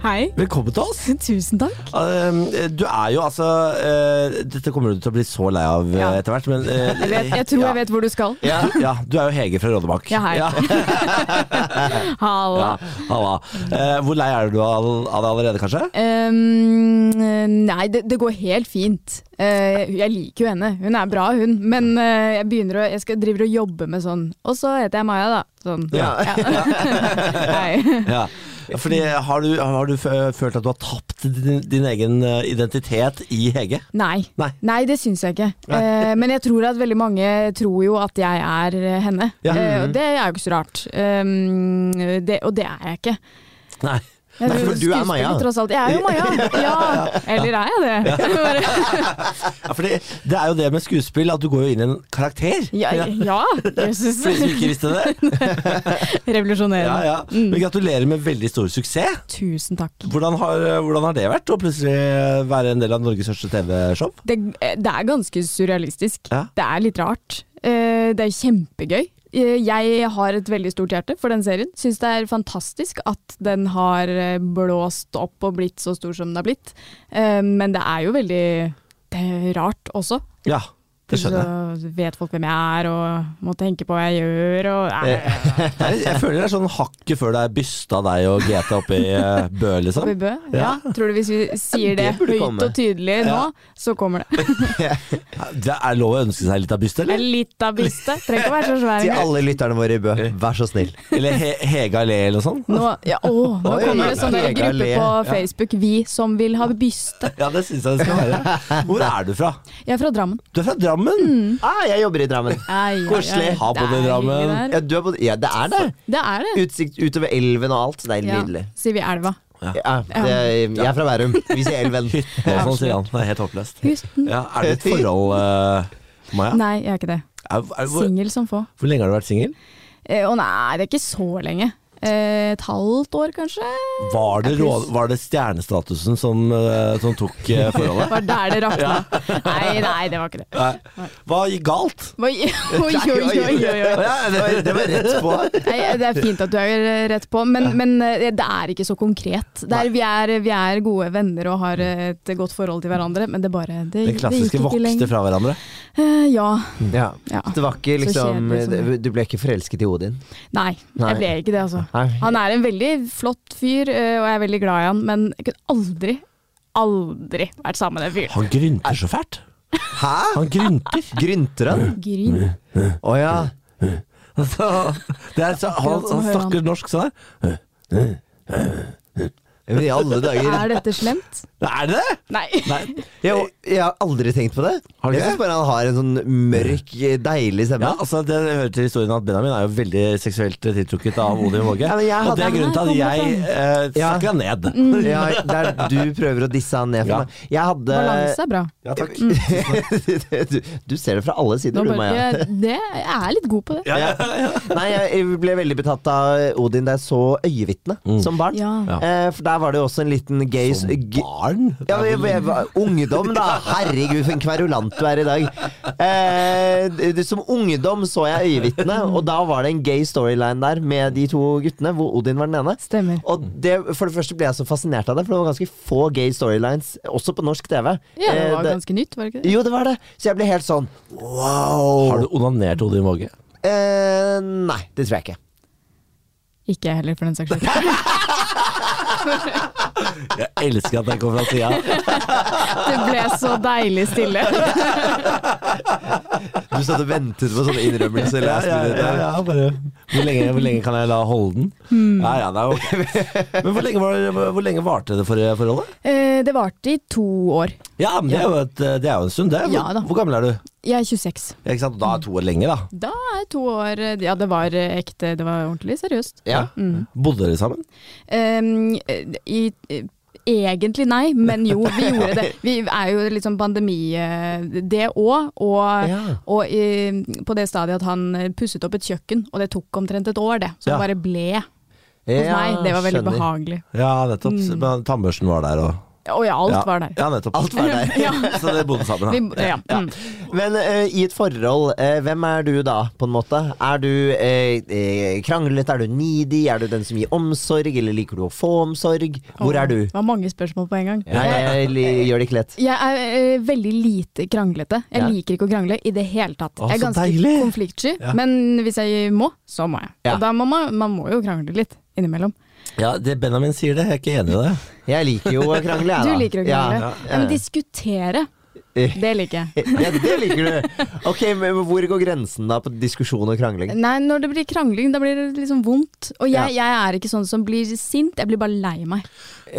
Speaker 4: Hei. *laughs*
Speaker 2: velkommen til oss.
Speaker 4: Tusen takk.
Speaker 2: Eh, Du er jo altså eh, Dette kommer du til å bli så lei av eh,
Speaker 4: Ja.
Speaker 2: etter hvert, men eh,
Speaker 4: Jeg, vet, jeg tror
Speaker 2: ja.
Speaker 4: jeg vet hvor du skal.
Speaker 2: Ja. ja, du er jo Hege fra Rådebakk.
Speaker 4: Ja, hei. Halla.
Speaker 2: Ja, *laughs* halla. Eh, hvor lei er du av av det allerede, kanskje?
Speaker 4: Ehm, nei, det, det går helt fint. Eh, jeg liker jo henne. Hun er bra, hun. Men eh, jeg begynner å, jeg skal, driver og jobber med sånn Og så heter jeg Maja, da. Sånn.
Speaker 2: Ja.
Speaker 4: Hei.
Speaker 2: Ja. Fordi Har du, har du fø- følt at du har tapt din, din egen eh, identitet i Hege?
Speaker 4: *laughs* Nei.
Speaker 2: Nei.
Speaker 4: Nei, det syns jeg ikke. Eh, men jeg tror at veldig mange tror jo at jeg er eh, henne.
Speaker 2: Ja.
Speaker 4: Eh, og det er jo ikke så rart. Ehm, det, og det er jeg ikke.
Speaker 2: Nei.
Speaker 4: Jeg
Speaker 3: Nei, for du er
Speaker 4: skuespiller
Speaker 3: Maja.
Speaker 4: Tross alt. Jeg er jo Maja. Ja. Eller er jeg det? *laughs* Bare-
Speaker 2: Ja, fordi det er jo det med skuespill, at du går jo inn i en karakter.
Speaker 4: *laughs* Ja, ja. Jesus.
Speaker 2: Hvis du ikke visste det. *laughs* Ja,
Speaker 4: *laughs*
Speaker 2: Mm.
Speaker 4: Revolusjonerende.
Speaker 2: ja. Men gratulerer med veldig stor suksess.
Speaker 4: Tusen takk.
Speaker 2: Hvordan har, eh, hvordan har det vært å plutselig eh, være en del av Norges største TV-show?
Speaker 4: Det, eh, det er ganske surrealistisk.
Speaker 2: Ja.
Speaker 4: Det er litt rart. Eh, Det er kjempegøy. Eh, Jeg har et veldig stort hjerte for den serien. Syns det er fantastisk at den har eh, blåst opp og blitt så stor som den har blitt. Eh, Men det er jo veldig det er rart også.
Speaker 2: Ja, det skjønner jeg.
Speaker 4: Så vet folk hvem jeg er og må tenke på hva jeg gjør. Og,
Speaker 2: Eh,
Speaker 4: Nei,
Speaker 2: Det er- Jeg føler det er sånn hakket før det er bysta deg og GT oppe i eh, Bø,
Speaker 4: Oppe i
Speaker 2: liksom.
Speaker 4: Bø? Ja. Tror du hvis vi sier det,
Speaker 3: det burde
Speaker 4: høyt
Speaker 3: komme.
Speaker 4: og tydelig nå, så kommer det.
Speaker 2: Det er lov å ønske seg litt av byst,
Speaker 4: Det
Speaker 2: eller?
Speaker 4: er litt av
Speaker 3: *laughs*
Speaker 4: byste. Trenger ikke å være så svær.
Speaker 3: Til alle lytterne våre i Bø, vær så snill.
Speaker 2: Eller he Hege Allé, eller noe sånt?
Speaker 4: Nå, ja, å, nå
Speaker 3: Oi,
Speaker 4: kommer det sånn der
Speaker 3: Hege
Speaker 4: gruppe
Speaker 3: Allé.
Speaker 4: på
Speaker 3: Ja.
Speaker 4: Facebook, vi som vil ha byste.
Speaker 2: Ja, det syns jeg det skal være. Hvor er du fra?
Speaker 4: Jeg er fra Drammen.
Speaker 2: Du er fra Drammen?
Speaker 3: Ah, jeg jobber i Drammen.
Speaker 4: Ai, ai,
Speaker 3: Koselig.
Speaker 4: ai.
Speaker 2: Ha på
Speaker 4: Det er
Speaker 2: deg, Drammen.
Speaker 4: hyggelig der.
Speaker 3: Ja, du er på, ja det er det.
Speaker 4: Det er det.
Speaker 3: Utsikt utover elven og alt. Det er
Speaker 4: Ja,
Speaker 3: nydelig.
Speaker 4: sier vi elva.
Speaker 3: Ja, det, jeg er fra Bærum. Vi sier
Speaker 2: *laughs*
Speaker 3: elven.
Speaker 2: Hytta og sånn, sier han. Det er helt håpløst.
Speaker 4: Houston.
Speaker 2: Ja, er det et forhold, eh, Maja?
Speaker 4: Nei, jeg er ikke det.
Speaker 2: Er, er, hvor,
Speaker 4: Singel som få.
Speaker 2: hvor lenge har du vært singel?
Speaker 4: Eh, Å nei, det er ikke så lenge. Eh, Et halvt år, kanskje?
Speaker 2: Var, det
Speaker 4: Jeg
Speaker 2: råd- var det stjernestatusen som, eh, som tok eh, forholdet?
Speaker 4: Var der det
Speaker 3: *laughs*
Speaker 4: rakna. Nei, nei, det var ikke det.
Speaker 2: Nei. Hva gikk galt?
Speaker 3: *laughs*
Speaker 4: Oi, oi, oi, oi, oi, oi.
Speaker 3: Ja, det, var- det var rett på.
Speaker 4: Nei, det er fint at du er eh, rett på, men, men eh, det er ikke så konkret. Det er, vi, er, vi er gode venner og har eh, et godt forhold til hverandre, men det bare det,
Speaker 2: Den klassiske
Speaker 4: det gikk ikke
Speaker 2: vokste
Speaker 4: lenger.
Speaker 2: fra hverandre.
Speaker 4: Eh, ja.
Speaker 3: Ja.
Speaker 4: ja.
Speaker 3: Det var ikke
Speaker 4: Så
Speaker 3: liksom
Speaker 4: kjedelig som-
Speaker 3: Du ble ikke forelsket i Odin?
Speaker 4: Nei,
Speaker 3: Nei.
Speaker 4: jeg ble ikke det, altså.
Speaker 3: Nei.
Speaker 4: Han er en veldig flott fyr, eh, og jeg er veldig glad i han, men jeg kunne aldri, aldri vært sammen med den fyren.
Speaker 2: Han grynter så fælt.
Speaker 3: Hæ?
Speaker 2: Han grynter.
Speaker 3: Grynter han?
Speaker 4: Gryn.
Speaker 3: Å ja.
Speaker 2: Det er, så, han, han snakker norsk sånn her.
Speaker 3: Men i alle dager.
Speaker 4: Er dette slemt?
Speaker 2: Er det det?
Speaker 4: Nei.
Speaker 3: Jeg, jeg har aldri tenkt på det.
Speaker 2: Har du
Speaker 3: Jeg
Speaker 2: ikke
Speaker 3: syns bare han har en sånn mørk, deilig stemme.
Speaker 2: Ja, altså Det hører til historien at Benjamin er jo veldig seksuelt tiltrukket av Odin Våge.
Speaker 3: Ja, men jeg
Speaker 2: og det er
Speaker 3: hadde-
Speaker 2: grunnen til at jeg eh,
Speaker 3: Ja.
Speaker 2: snakker han ned.
Speaker 3: Ja, der du prøver å disse han ned for
Speaker 2: Ja.
Speaker 3: meg. Jeg hadde *laughs*
Speaker 4: Balanse er bra.
Speaker 2: Ja, takk.
Speaker 3: du, du ser det fra alle sider,
Speaker 4: Nå
Speaker 3: du,
Speaker 4: bare,
Speaker 3: Maja.
Speaker 4: jeg, det, jeg er litt god på det.
Speaker 2: Ja, ja,
Speaker 3: Nei, jeg ble veldig betatt av Odin da jeg så Øyevitne som barn.
Speaker 4: Ja.
Speaker 2: Mm. Ja.
Speaker 3: Eh, for der var det jo også en liten gay
Speaker 2: Som
Speaker 3: g-
Speaker 2: barn?
Speaker 3: ja, men jeg, jeg, var- ungdom,
Speaker 2: *laughs*
Speaker 3: da! Herregud, for en kverulant du er i dag. Eh, det- som ungdom så jeg Øyevitne, og da var det en gay storyline der med de to guttene, hvor Odin var den ene.
Speaker 4: Stemmer.
Speaker 3: Og det, for det første ble jeg så fascinert av det, for det var ganske få gay storylines, også på norsk TV.
Speaker 4: Ja, det
Speaker 3: Eh,
Speaker 4: var ganske nytt, var det ikke det?
Speaker 3: Jo, det var det. Så jeg ble helt sånn wow.
Speaker 2: Har du onanert Odin Våge?
Speaker 3: Eh, nei, det tror jeg ikke.
Speaker 4: Ikke jeg heller, for den saks skyld. *laughs*
Speaker 2: Jeg elsker at jeg kommer fra sida.
Speaker 4: Det ble så deilig stille.
Speaker 3: Du satt og ventet på sånne innrømmelser.
Speaker 2: *laughs* Ja, ja, ja, ja, bare. Hmm. Hvor, lenge, hvor lenge kan jeg la holde den? Ja, ja, det er ok. *laughs* Men hvor lenge, var det, hvor lenge varte det forrige forholdet?
Speaker 4: Eh, Det varte i to år.
Speaker 2: Ja, men det er jo, et, det er jo en stund, det. Hvor,
Speaker 4: Ja da.
Speaker 2: hvor gammel er du?
Speaker 4: Jeg er 26.
Speaker 2: Ja, ikke sant? Da er to år lenge, da.
Speaker 4: Da er to år eh, Ja, det var eh, ekte, det var ordentlig seriøst.
Speaker 3: Ja.
Speaker 2: Bodde dere sammen?
Speaker 4: Ehm, i, eh, egentlig nei, men jo, vi *laughs* gjorde det. Vi er jo liksom pandemi eh, det òg, og,
Speaker 3: Ja.
Speaker 4: og eh, på det stadiet at han eh, pusset opp et kjøkken, og det tok omtrent et år, det. Så
Speaker 2: Ja.
Speaker 4: det bare ble hos meg. Det var veldig behagelig.
Speaker 2: Ja, nettopp. Men tannbørsten var der og
Speaker 4: Å ja, alt
Speaker 2: ja.
Speaker 4: var der.
Speaker 2: Ja, nettopp.
Speaker 3: Alt var der.
Speaker 4: *laughs* Ja.
Speaker 2: Så dere bodde sammen, da.
Speaker 4: Vi, ja. Mm.
Speaker 3: Men eh, i et forhold, eh, hvem er du da, på en måte? Er du eh, eh, kranglet, er du needy, er du den som gir omsorg, eller liker du å få omsorg? Hvor er du?
Speaker 4: Det var mange spørsmål på en gang.
Speaker 3: Nei, jeg, li- gjør det ikke lett.
Speaker 4: Jeg er eh, veldig lite kranglete. Jeg
Speaker 3: Ja.
Speaker 4: liker ikke å krangle i det hele tatt.
Speaker 2: Å,
Speaker 4: jeg er
Speaker 2: så
Speaker 4: ganske
Speaker 2: deilig.
Speaker 4: konfliktsky,
Speaker 2: Ja.
Speaker 4: men hvis jeg må, så må jeg.
Speaker 3: Ja.
Speaker 4: Og da må man, man må jo krangle litt innimellom.
Speaker 2: Ja, det Benjamin sier det, jeg er ikke enig i det.
Speaker 3: Jeg liker jo å krangle, jeg,
Speaker 4: Du
Speaker 3: da.
Speaker 4: liker å krangle. Ja,
Speaker 3: ja. Eh.
Speaker 4: Men diskutere, det liker jeg.
Speaker 3: Ja, det liker du. Ok, men Hvor går grensen da på diskusjon og krangling?
Speaker 4: Nei, når det blir krangling, da blir det liksom vondt. Og jeg, jeg er ikke sånn som blir sint, jeg blir bare lei meg.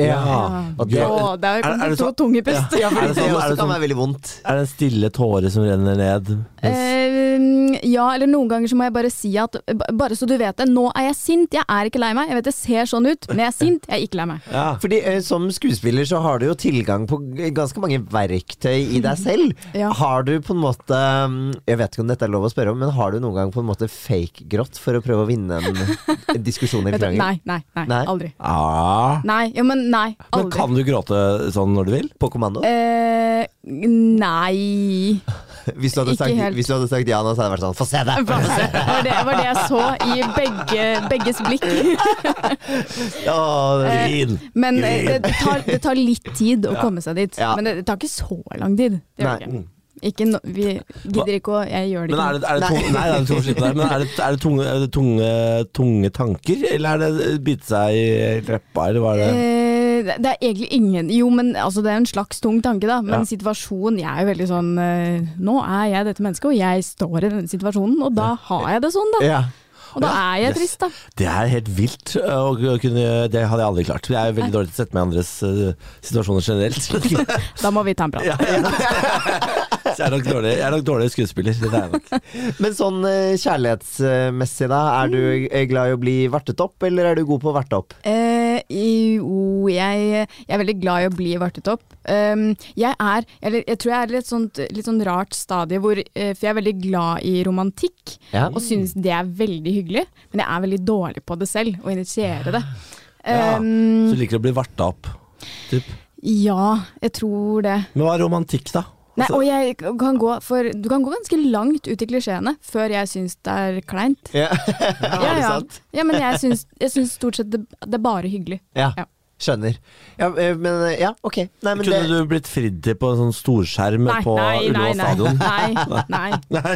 Speaker 3: Og det,
Speaker 4: Å, der kom
Speaker 2: er
Speaker 4: det
Speaker 2: det
Speaker 4: to
Speaker 2: så-
Speaker 4: tunge puster.
Speaker 3: ja, for
Speaker 2: Er
Speaker 3: det,
Speaker 2: det sånn- er
Speaker 3: også
Speaker 2: det
Speaker 3: kan
Speaker 2: sånn-
Speaker 3: være veldig vondt.
Speaker 2: Er det en stille tåre som renner ned? Mens,
Speaker 4: Eh, ja, eller noen ganger så må jeg bare si at b- Bare så du vet det, nå er jeg sint, jeg er ikke lei meg. Jeg vet det ser sånn ut, men jeg er sint, jeg er ikke lei meg.
Speaker 2: ja.
Speaker 3: Fordi eh, Som skuespiller så har du jo tilgang på g- ganske mange verktøy i
Speaker 4: *laughs*
Speaker 3: deg selv.
Speaker 4: Ja.
Speaker 3: Har du på en måte mm, Jeg vet ikke om dette er lov å spørre om, men har du noen gang på en måte fake-grått for å prøve å vinne
Speaker 4: *laughs*
Speaker 3: en, en diskusjon eller
Speaker 4: Vet du,
Speaker 3: krangel?
Speaker 4: nei, nei, nei,
Speaker 3: Nei?
Speaker 4: aldri.
Speaker 2: Ah.
Speaker 4: Nei, ja, men nei, aldri.
Speaker 2: Men kan du gråte sånn når du vil?
Speaker 3: På kommando?
Speaker 4: Eh, nei *laughs*
Speaker 3: Hvis du hadde
Speaker 4: ikke
Speaker 3: sagt,
Speaker 4: helt.
Speaker 3: hvis du hadde sagt ja nå, så hadde jeg vært sånn Få
Speaker 4: *laughs*
Speaker 3: se
Speaker 4: Det
Speaker 3: deg!
Speaker 4: var det, var det jeg så i begge, begges blikk.
Speaker 3: *laughs*
Speaker 4: *laughs*
Speaker 3: Åh, det-
Speaker 2: Grin!
Speaker 4: Men eh, det tar, det tar litt tid å komme seg dit.
Speaker 3: Ja.
Speaker 4: Men det, det tar ikke så lang tid. Det gjør det
Speaker 3: Nei.
Speaker 4: ikke. Ikke no, vi gidder ikke å Jeg gjør det
Speaker 2: Men
Speaker 4: ikke.
Speaker 2: er det, er det,
Speaker 3: Nei.
Speaker 2: tunge, nei, det er tunge, slipper der, men er det, er det, tunge, er det tunge, tunge tanker, eller er det bite seg i leppa, eller hva er det?
Speaker 4: Eh, det- det er egentlig ingen Jo, men altså, det er en slags tung tanke, da. Men
Speaker 2: Ja.
Speaker 4: situasjonen Jeg er jo veldig sånn eh, Nå er jeg dette mennesket, og jeg står i denne situasjonen, og da har jeg det sånn, da.
Speaker 3: ja.
Speaker 4: Og da er jeg
Speaker 2: Yes.
Speaker 4: trist, da.
Speaker 2: Det er helt vilt øh, å kunne Det hadde jeg aldri klart. Jeg er veldig dårlig til å sette meg i andres øh, situasjoner
Speaker 4: *laughs*
Speaker 2: generelt.
Speaker 4: Da må vi ta en prat.
Speaker 2: Ja, ja. Så jeg er nok dårlig, jeg er nok dårlig skuespiller. Det er jeg nok.
Speaker 3: Men sånn eh, kjærlighetsmessig, da. Er du
Speaker 4: Mm.
Speaker 3: eh, glad i å bli vartet opp, eller er du god på å varte opp? *laughs*
Speaker 4: Eh, jo, jeg, jeg er veldig glad i å bli vartet opp. Um, jeg er, eller jeg tror jeg er i et sånt, litt sånn rart stadie hvor eh, For jeg er veldig glad i romantikk,
Speaker 3: Ja.
Speaker 4: og syns det er veldig hyggelig. Men jeg er veldig dårlig på det selv, å initiere det.
Speaker 2: Ja.
Speaker 4: Um,
Speaker 2: Så liker du å bli varta opp. Typ.
Speaker 4: ja, jeg tror det.
Speaker 2: Men hva er romantikk, da?
Speaker 4: Nei,
Speaker 2: Altså,
Speaker 4: og jeg kan gå for Du kan gå ganske langt ut i klisjeene før jeg syns det er kleint.
Speaker 3: Ja.
Speaker 4: Ja,
Speaker 3: Er det
Speaker 4: ja.
Speaker 3: sant?
Speaker 4: ja men jeg syns, jeg syns stort sett det, det er bare hyggelig.
Speaker 3: Ja,
Speaker 4: Ja.
Speaker 3: skjønner. Ja, eh, men eh, ja, ok. Nei, men
Speaker 2: kunne
Speaker 3: det,
Speaker 2: du blitt fridd til på en sånn storskjerm
Speaker 4: Nei,
Speaker 2: på
Speaker 4: nei, nei,
Speaker 2: Ullevål
Speaker 4: nei,
Speaker 2: stadion? *laughs*
Speaker 4: nei, nei.
Speaker 2: Nei.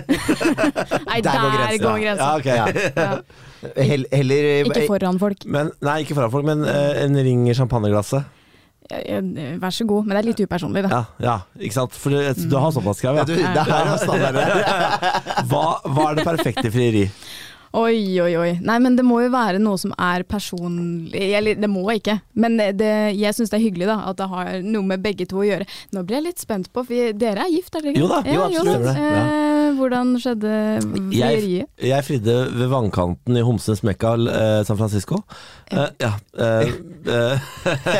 Speaker 4: *laughs* Nei,
Speaker 3: Der
Speaker 4: der,
Speaker 3: går
Speaker 4: går
Speaker 3: grensen,
Speaker 4: grensa.
Speaker 3: ja.
Speaker 2: Ja, ok.
Speaker 4: Ja.
Speaker 3: *laughs* hell, heller eh,
Speaker 4: Ikke foran folk.
Speaker 2: Men, nei, ikke foran folk, men øh, en ring i champagneglasset.
Speaker 4: Eh, eh, Vær så god, men det er litt upersonlig, da.
Speaker 2: Ja, ja, ikke sant? For du, du har såpass krav,
Speaker 3: ja,
Speaker 2: *laughs* ja.
Speaker 3: du, Det her er standard.
Speaker 2: Hva, hva er det perfekte frieri?
Speaker 4: Å, Oi, oi, oi. Nei, men det må jo være noe som er personlig Eller det må ikke, men det, jeg syns det er hyggelig da, at det har noe med begge to å gjøre. Nå blir jeg litt spent på, for dere er gift, er dere ikke?
Speaker 2: Jo da, jo,
Speaker 4: Ja,
Speaker 2: absolutt.
Speaker 4: da.
Speaker 2: Det er det,
Speaker 4: Eh, hvordan skjedde frieriet?
Speaker 2: Jeg, jeg fridde ved vannkanten i Homsens Mekka, eh, San Francisco. Eh, ja. Eh, eh,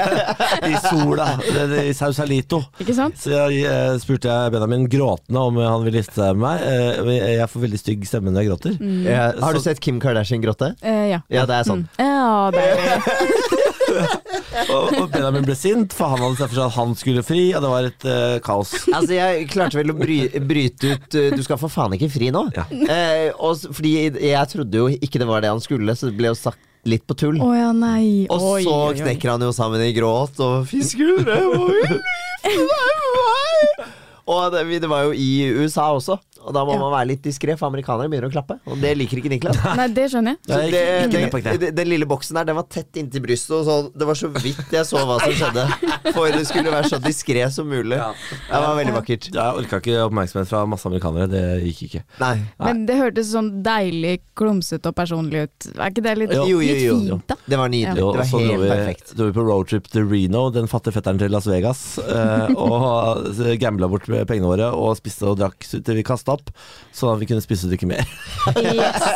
Speaker 2: *laughs* I sola, eller i Sausalito.
Speaker 4: Ikke sant?
Speaker 2: Så jeg, eh, spurte jeg Benjamin gråtende om han ville gifte seg med meg. Eh, jeg får veldig stygg stemme når jeg gråter.
Speaker 4: Mm.
Speaker 3: Ja, har du
Speaker 2: Så-
Speaker 3: sett Kim Kardashian gråte?
Speaker 4: Eh, ja.
Speaker 3: Ja, det er sånn.
Speaker 4: Mm. Ja, det er det.
Speaker 2: *laughs* Og, og Benjamin ble sint, for han hadde sett for seg at han skulle fri, og det var et eh, kaos.
Speaker 4: Mm. *laughs*
Speaker 3: Altså, jeg klarte vel å bry, bryte ut eh, Du skal for faen ikke fri nå.
Speaker 2: Ja.
Speaker 3: Eh, og, s- fordi jeg trodde jo ikke det var det han skulle, så det ble jo sagt litt på tull.
Speaker 4: Å ja, nei.
Speaker 3: Og
Speaker 4: Oi,
Speaker 3: så
Speaker 4: oi, oi.
Speaker 3: knekker han jo sammen i gråt og 'Fisker, jeg må jo gifte meg med meg!» Og det, vi- det var jo i USA også, og da må
Speaker 4: Ja.
Speaker 3: man være litt diskré, for amerikanere begynner å klappe. Og det liker ikke Niklas.
Speaker 4: *laughs* Nei, det skjønner jeg.
Speaker 3: Så
Speaker 2: Nei, ikke-
Speaker 3: det,
Speaker 2: ikke med på
Speaker 3: det,
Speaker 2: det.
Speaker 3: den lille boksen der, den var tett inntil brystet, og så, det var så vidt jeg så hva som skjedde. For det skulle være så diskré som mulig. Det var veldig vakkert.
Speaker 2: Jeg orka ikke oppmerksomhet fra masse amerikanere. Det gikk ikke.
Speaker 3: Nei.
Speaker 2: Nei.
Speaker 4: Men det hørtes sånn deilig klumsete og personlig ut. Er ikke det litt,
Speaker 3: Jo, jo,
Speaker 4: litt
Speaker 3: jo, jo.
Speaker 4: fint,
Speaker 3: *laughs*
Speaker 4: da?
Speaker 3: Det var nydelig.
Speaker 2: Jo,
Speaker 3: Det
Speaker 2: og så
Speaker 3: var
Speaker 2: dro
Speaker 3: helt
Speaker 2: sånn vi,
Speaker 3: perfekt.
Speaker 2: dro vi på roadtrip til Reno, den fattige fetteren til Las Vegas, eh, og *laughs* gambla bort med pengene våre og spiste og drakk til vi kasta opp, sånn at vi kunne spise og drikke mer.
Speaker 4: Yes.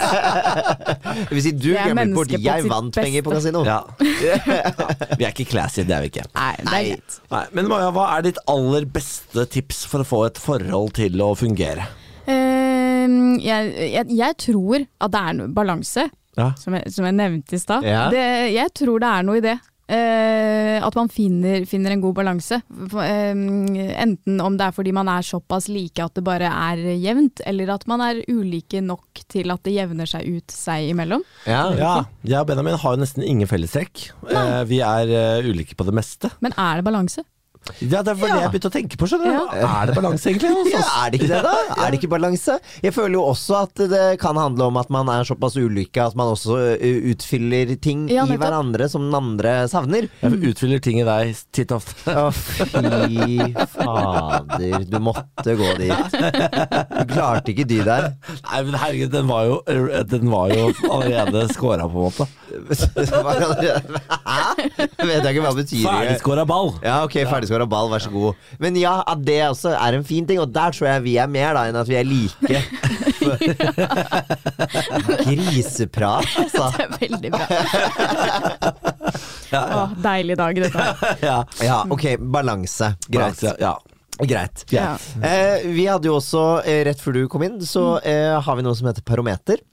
Speaker 3: Det vil si, du
Speaker 4: Det er
Speaker 3: glemmer bort
Speaker 4: mennesket på
Speaker 3: jeg
Speaker 4: sitt
Speaker 3: vant penger på
Speaker 4: beste.
Speaker 3: kasino.
Speaker 2: Ja. *laughs* Vi er ikke classy, det er vi ikke.
Speaker 4: Nei, det er greit.
Speaker 2: Nei, men Maja, hva er ditt aller beste tips for å få et forhold til å fungere?
Speaker 4: Ehm, jeg, jeg, jeg tror at det er noe balanse,
Speaker 2: Ja.
Speaker 4: som jeg, som jeg nevnte i stad.
Speaker 3: Ja.
Speaker 4: Det- Jeg tror det er noe i det. Eh, at man finner, finner en god balanse. For, ehm, enten om det er fordi man er såpass like at det bare er jevnt, eller at man er ulike nok til at det jevner seg ut seg imellom.
Speaker 3: Ja.
Speaker 2: Ja, jeg og Benjamin har jo nesten ingen fellestrekk. Eh, vi er eh, ulike på det meste.
Speaker 4: Men er det balanse?
Speaker 2: Ja, Det var det jeg begynte å tenke på. skjønner du Er det balanse, egentlig? hos
Speaker 3: *laughs* Ja,
Speaker 2: oss?
Speaker 3: er det ikke det, da? Er det ikke balanse? Jeg føler jo også at det kan handle om at man er såpass ulykke at man også ø, utfyller ting
Speaker 4: Ja,
Speaker 3: i
Speaker 4: nettopp.
Speaker 3: hverandre som den andre savner.
Speaker 2: Jeg utfyller ting i deg titt og ofte.
Speaker 3: Å, fy fader. Du måtte gå dit. Du klarte ikke de der.
Speaker 2: Nei, men herregud, den var jo, den var jo allerede scora, på en måte.
Speaker 3: Det var allerede- Hæ? Vet jeg ikke hva det betyr.
Speaker 2: Ferdigskåra ball!
Speaker 3: Ja, ok, ferdigskåra ball, vær så god. Men ja, at det også er en fin ting, og der tror jeg vi er mer da enn at vi
Speaker 2: *laughs*
Speaker 3: er like. Griseprat,
Speaker 4: *laughs*
Speaker 3: altså.
Speaker 4: Det er veldig
Speaker 2: *laughs*
Speaker 4: bra. Åh, deilig dag, dette her.
Speaker 2: Ja.
Speaker 3: Ja, ok, balanse. Greit.
Speaker 2: Balanse, Ja.
Speaker 3: Greit.
Speaker 4: Ja.
Speaker 2: Greit. Mm.
Speaker 3: Eh, vi hadde jo også, eh, rett før du kom inn, så eh, har vi noe som heter parometer.
Speaker 4: *laughs*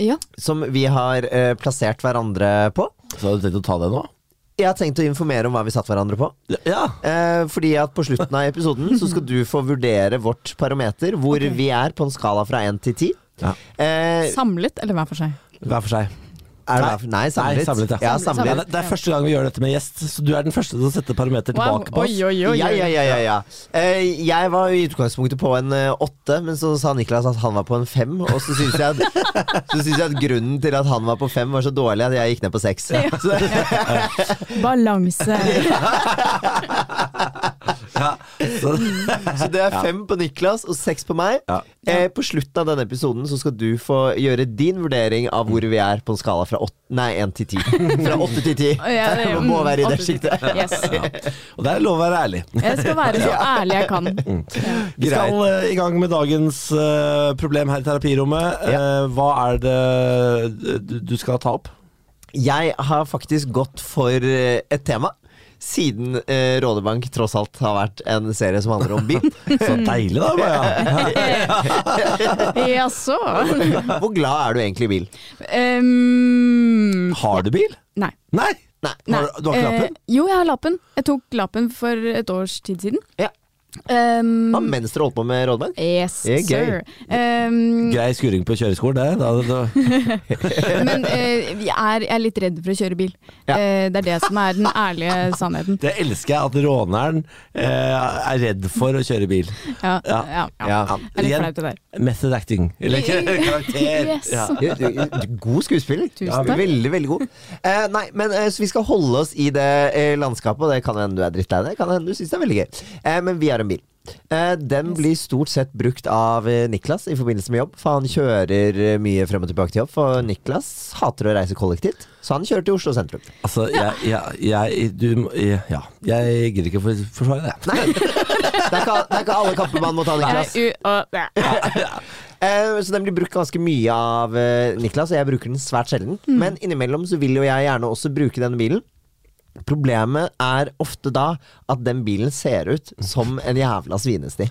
Speaker 4: Ja.
Speaker 3: Som vi har eh, plassert hverandre på.
Speaker 2: Så har du tenkt å ta det nå?
Speaker 3: Jeg har tenkt å informere om hva vi satt hverandre på.
Speaker 2: Ja.
Speaker 3: Eh, fordi at på slutten av episoden så skal du få vurdere vårt parometer, hvor vi er på en skala fra 1 til 10.
Speaker 2: Ja.
Speaker 3: Eh,
Speaker 4: Samlet eller hver for seg?
Speaker 2: Hver for seg.
Speaker 3: er det, nei, samlet.
Speaker 2: Nei, samlet, ja.
Speaker 3: ja.
Speaker 2: Ja,
Speaker 3: samlet.
Speaker 2: det- det er første gang vi gjør dette med gjest, så du er den første til å sette parameter
Speaker 4: Wow.
Speaker 2: tilbake på
Speaker 4: Oi,
Speaker 2: oss.
Speaker 4: oi, oi.
Speaker 3: Ja,
Speaker 4: oi.
Speaker 3: ja, ja, ja, ja. Eh, jeg var i utgangspunktet på en eh, åtte, men så sa Niklas at han var på en fem. Og så syns jeg, at- så synes jeg at grunnen til at han var på fem, var så dårlig at jeg gikk ned på seks. *laughs* Så,
Speaker 4: *laughs* Balanse.
Speaker 2: Ja. Så, *laughs*
Speaker 3: så det er fem på Niklas og seks på meg.
Speaker 2: Ja.
Speaker 3: Eh, på slutten av denne episoden så skal du få gjøre din vurdering av hvor vi er på en skala fra åt- nei, én
Speaker 2: *laughs*
Speaker 3: til ti. Fra åtte til ti.
Speaker 4: Ja, det-
Speaker 3: Man må
Speaker 4: mm,
Speaker 3: være i det
Speaker 4: absolutt.
Speaker 3: sjiktet.
Speaker 4: *laughs* Yes.
Speaker 2: ja. Og det er lov å være ærlig.
Speaker 4: Jeg skal være så ærlig jeg kan.
Speaker 2: Mm. Vi skal eh, i gang med dagens eh, problem her i terapirommet. Eh, hva er det du, du skal ta opp?
Speaker 3: Jeg har faktisk gått for eh, et tema. Siden eh, Rådebank tross alt har vært en serie som handler om bil.
Speaker 2: *laughs* Så deilig, da, Maja.
Speaker 4: Jaså?
Speaker 3: Hvor glad er du egentlig i bil?
Speaker 4: Um,
Speaker 2: *laughs* Har du bil?
Speaker 4: nei.
Speaker 2: Nei!
Speaker 3: Nei.
Speaker 4: nei.
Speaker 2: Har du- du har ikke
Speaker 4: Eh,
Speaker 2: lappen?
Speaker 4: jo, jeg har lappen. Jeg tok lappen for et års tid siden.
Speaker 3: Ja.
Speaker 4: Um,
Speaker 3: Ah, mens dere holdt på med Rådebank?
Speaker 4: Yes,
Speaker 3: Det er
Speaker 4: sir. Um,
Speaker 2: Grei skuring på kjøreskolen, det. Da, da,
Speaker 4: men eh, jeg, er, jeg er litt redd for å kjøre bil.
Speaker 3: Ja.
Speaker 4: Eh, det er det som er den ærlige sannheten.
Speaker 2: det elsker jeg, at råneren eh, er redd for å kjøre bil.
Speaker 4: Ja, ja,
Speaker 2: Ja.
Speaker 4: ja.
Speaker 3: Ja.
Speaker 4: Jeg er litt
Speaker 2: Igjen,
Speaker 4: flaut det der.
Speaker 2: Method acting. Eller *laughs* karakter.
Speaker 4: *laughs* Yes.
Speaker 2: Ja.
Speaker 3: Du- du- God skuespiller.
Speaker 4: Tusen
Speaker 3: Ja,
Speaker 4: takk.
Speaker 3: Veldig, veldig god. Eh, nei, men eh, så Vi skal holde oss i det eh, landskapet, og det kan hende du er drittlei deg. Kan hende du synes det er veldig gøy. Eh, men vi har en bil. Eh, den blir stort sett brukt av eh, Niklas i forbindelse med jobb, for han kjører eh, mye frem og tilbake til jobb. For Niklas hater å reise kollektivt, så han kjører til Oslo sentrum.
Speaker 2: Altså, jeg, jeg, jeg, du, må- jeg, ja, jeg gidder ikke å for- forsvare det.
Speaker 3: Nei! Det er ikke, det er ikke alle kamper man må ta, Niklas.
Speaker 4: Jeg er u- og- ja.
Speaker 3: Eh, så den blir brukt ganske mye av eh, Niklas, og jeg bruker den svært sjelden.
Speaker 4: Mm.
Speaker 3: Men innimellom så vil jo jeg gjerne også bruke denne bilen. Problemet er ofte da at den bilen ser ut som en jævla svinesti.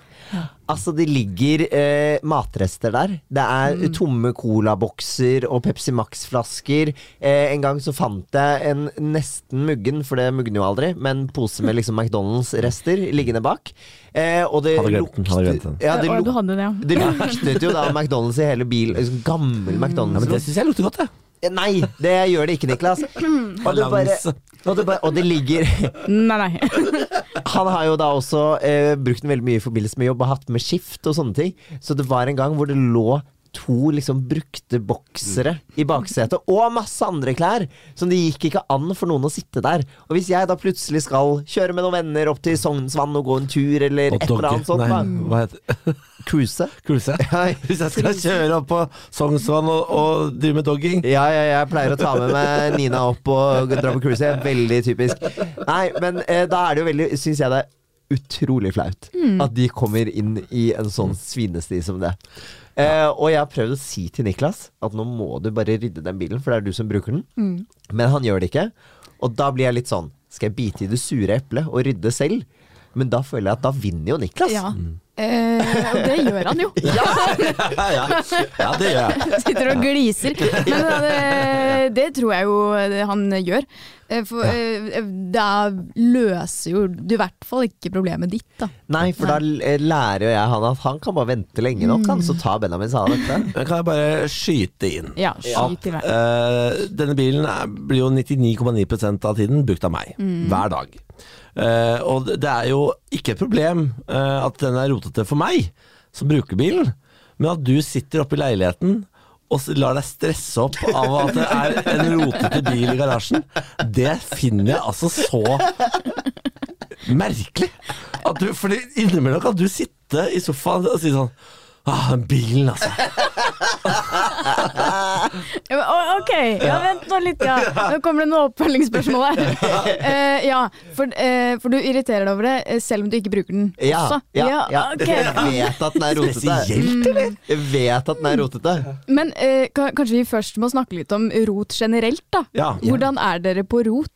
Speaker 3: Altså, det ligger eh, matrester der. Det er
Speaker 4: Mm.
Speaker 3: tomme colabokser og Pepsi Max-flasker. Eh, en gang så fant jeg en nesten muggen, for det mugner jo aldri, men en pose med liksom McDonald's-rester liggende bak. Eh, og det
Speaker 2: Hadde glemt den, hadde glemt den.
Speaker 3: Ja, det
Speaker 4: Å, du
Speaker 3: luk-
Speaker 4: hadde det, ja.
Speaker 3: det luktet jo da McDonald's i hele bilen. Liksom
Speaker 2: Ja,
Speaker 3: Gammel McDonald's. Eh,
Speaker 2: men det syns jeg lukter godt, det.
Speaker 3: Nei, det gjør det ikke, Niklas. Og det, bare,
Speaker 2: Balanse.
Speaker 3: og det, bare, og det ligger
Speaker 4: Nei, nei. *laughs*
Speaker 3: Han har jo da også eh, brukt den veldig mye i forbindelse med jobb og hatt med skift og sånne ting. Så det var en gang hvor det lå to liksom brukte boksere i baksetet, og masse andre klær, som det gikk ikke an for noen å sitte der. Og hvis jeg da plutselig skal kjøre med noen venner opp til Sognsvann og gå en tur, eller
Speaker 2: Og
Speaker 3: et eller annet sånt,
Speaker 2: Nei,
Speaker 3: da.
Speaker 2: hva heter *laughs* det?
Speaker 3: Cruise.
Speaker 2: Kruse?
Speaker 3: Ja,
Speaker 2: Hvis jeg skal kjøre opp på Sognsvann og, og drive med dogging
Speaker 3: Ja, ja, jeg pleier å ta med meg Nina opp og dra på cruise. Jeg er Veldig typisk. Nei, men eh, da er det jo veldig Syns jeg det er utrolig flaut at de kommer inn i en sånn svinesti som det. Eh, og jeg har prøvd å si til Niklas at nå må du bare rydde den bilen, for det er du som bruker den. Men han gjør det ikke. Og da blir jeg litt sånn Skal jeg bite i det sure eplet og rydde selv? Men da føler jeg at da vinner jo Niklas.
Speaker 4: Ja. Eh, og det gjør han jo.
Speaker 2: *laughs* Ja, ja. ja det gjør jeg.
Speaker 4: *laughs* Sitter og gliser. Men eh, det tror jeg jo han gjør. Eh, For eh, da løser jo du i hvert fall ikke problemet ditt, da.
Speaker 3: Nei, for da eh, lærer jo jeg han at han kan bare vente lenge nok, han, så tar Benjamin seg av dette.
Speaker 2: Men kan jeg bare skyte inn
Speaker 4: Ja, skyt i vei.
Speaker 2: eh, denne bilen er, blir jo 99,9 av tiden brukt av meg.
Speaker 4: Mm.
Speaker 2: Hver dag. Eh, og det det er jo ikke et problem eh, at den er rotete for meg, som bruker bilen, men at du sitter oppe i leiligheten og s- lar deg stresse opp av at det er en rotete bil i garasjen, det finner jeg altså så merkelig. At du, fordi innimellom kan du sitte i sofaen og si sånn Ah, den bilen, altså.
Speaker 4: Ja, men, å, ok, ja, vent nå litt. Ja. Nå kommer det noe oppfølgingsspørsmål her. Eh, ja, for, eh, for du irriterer deg over det eh, selv om du ikke bruker den også.
Speaker 3: Ja, ja, ja.
Speaker 4: ok.
Speaker 3: *laughs* Jeg vet at den er rotete.
Speaker 2: Spesielt, eller?
Speaker 3: Jeg vet at den er rotete.
Speaker 4: Men eh, ka- kanskje vi først må snakke litt om rot generelt, da.
Speaker 2: Ja.
Speaker 4: Hvordan er dere på rot?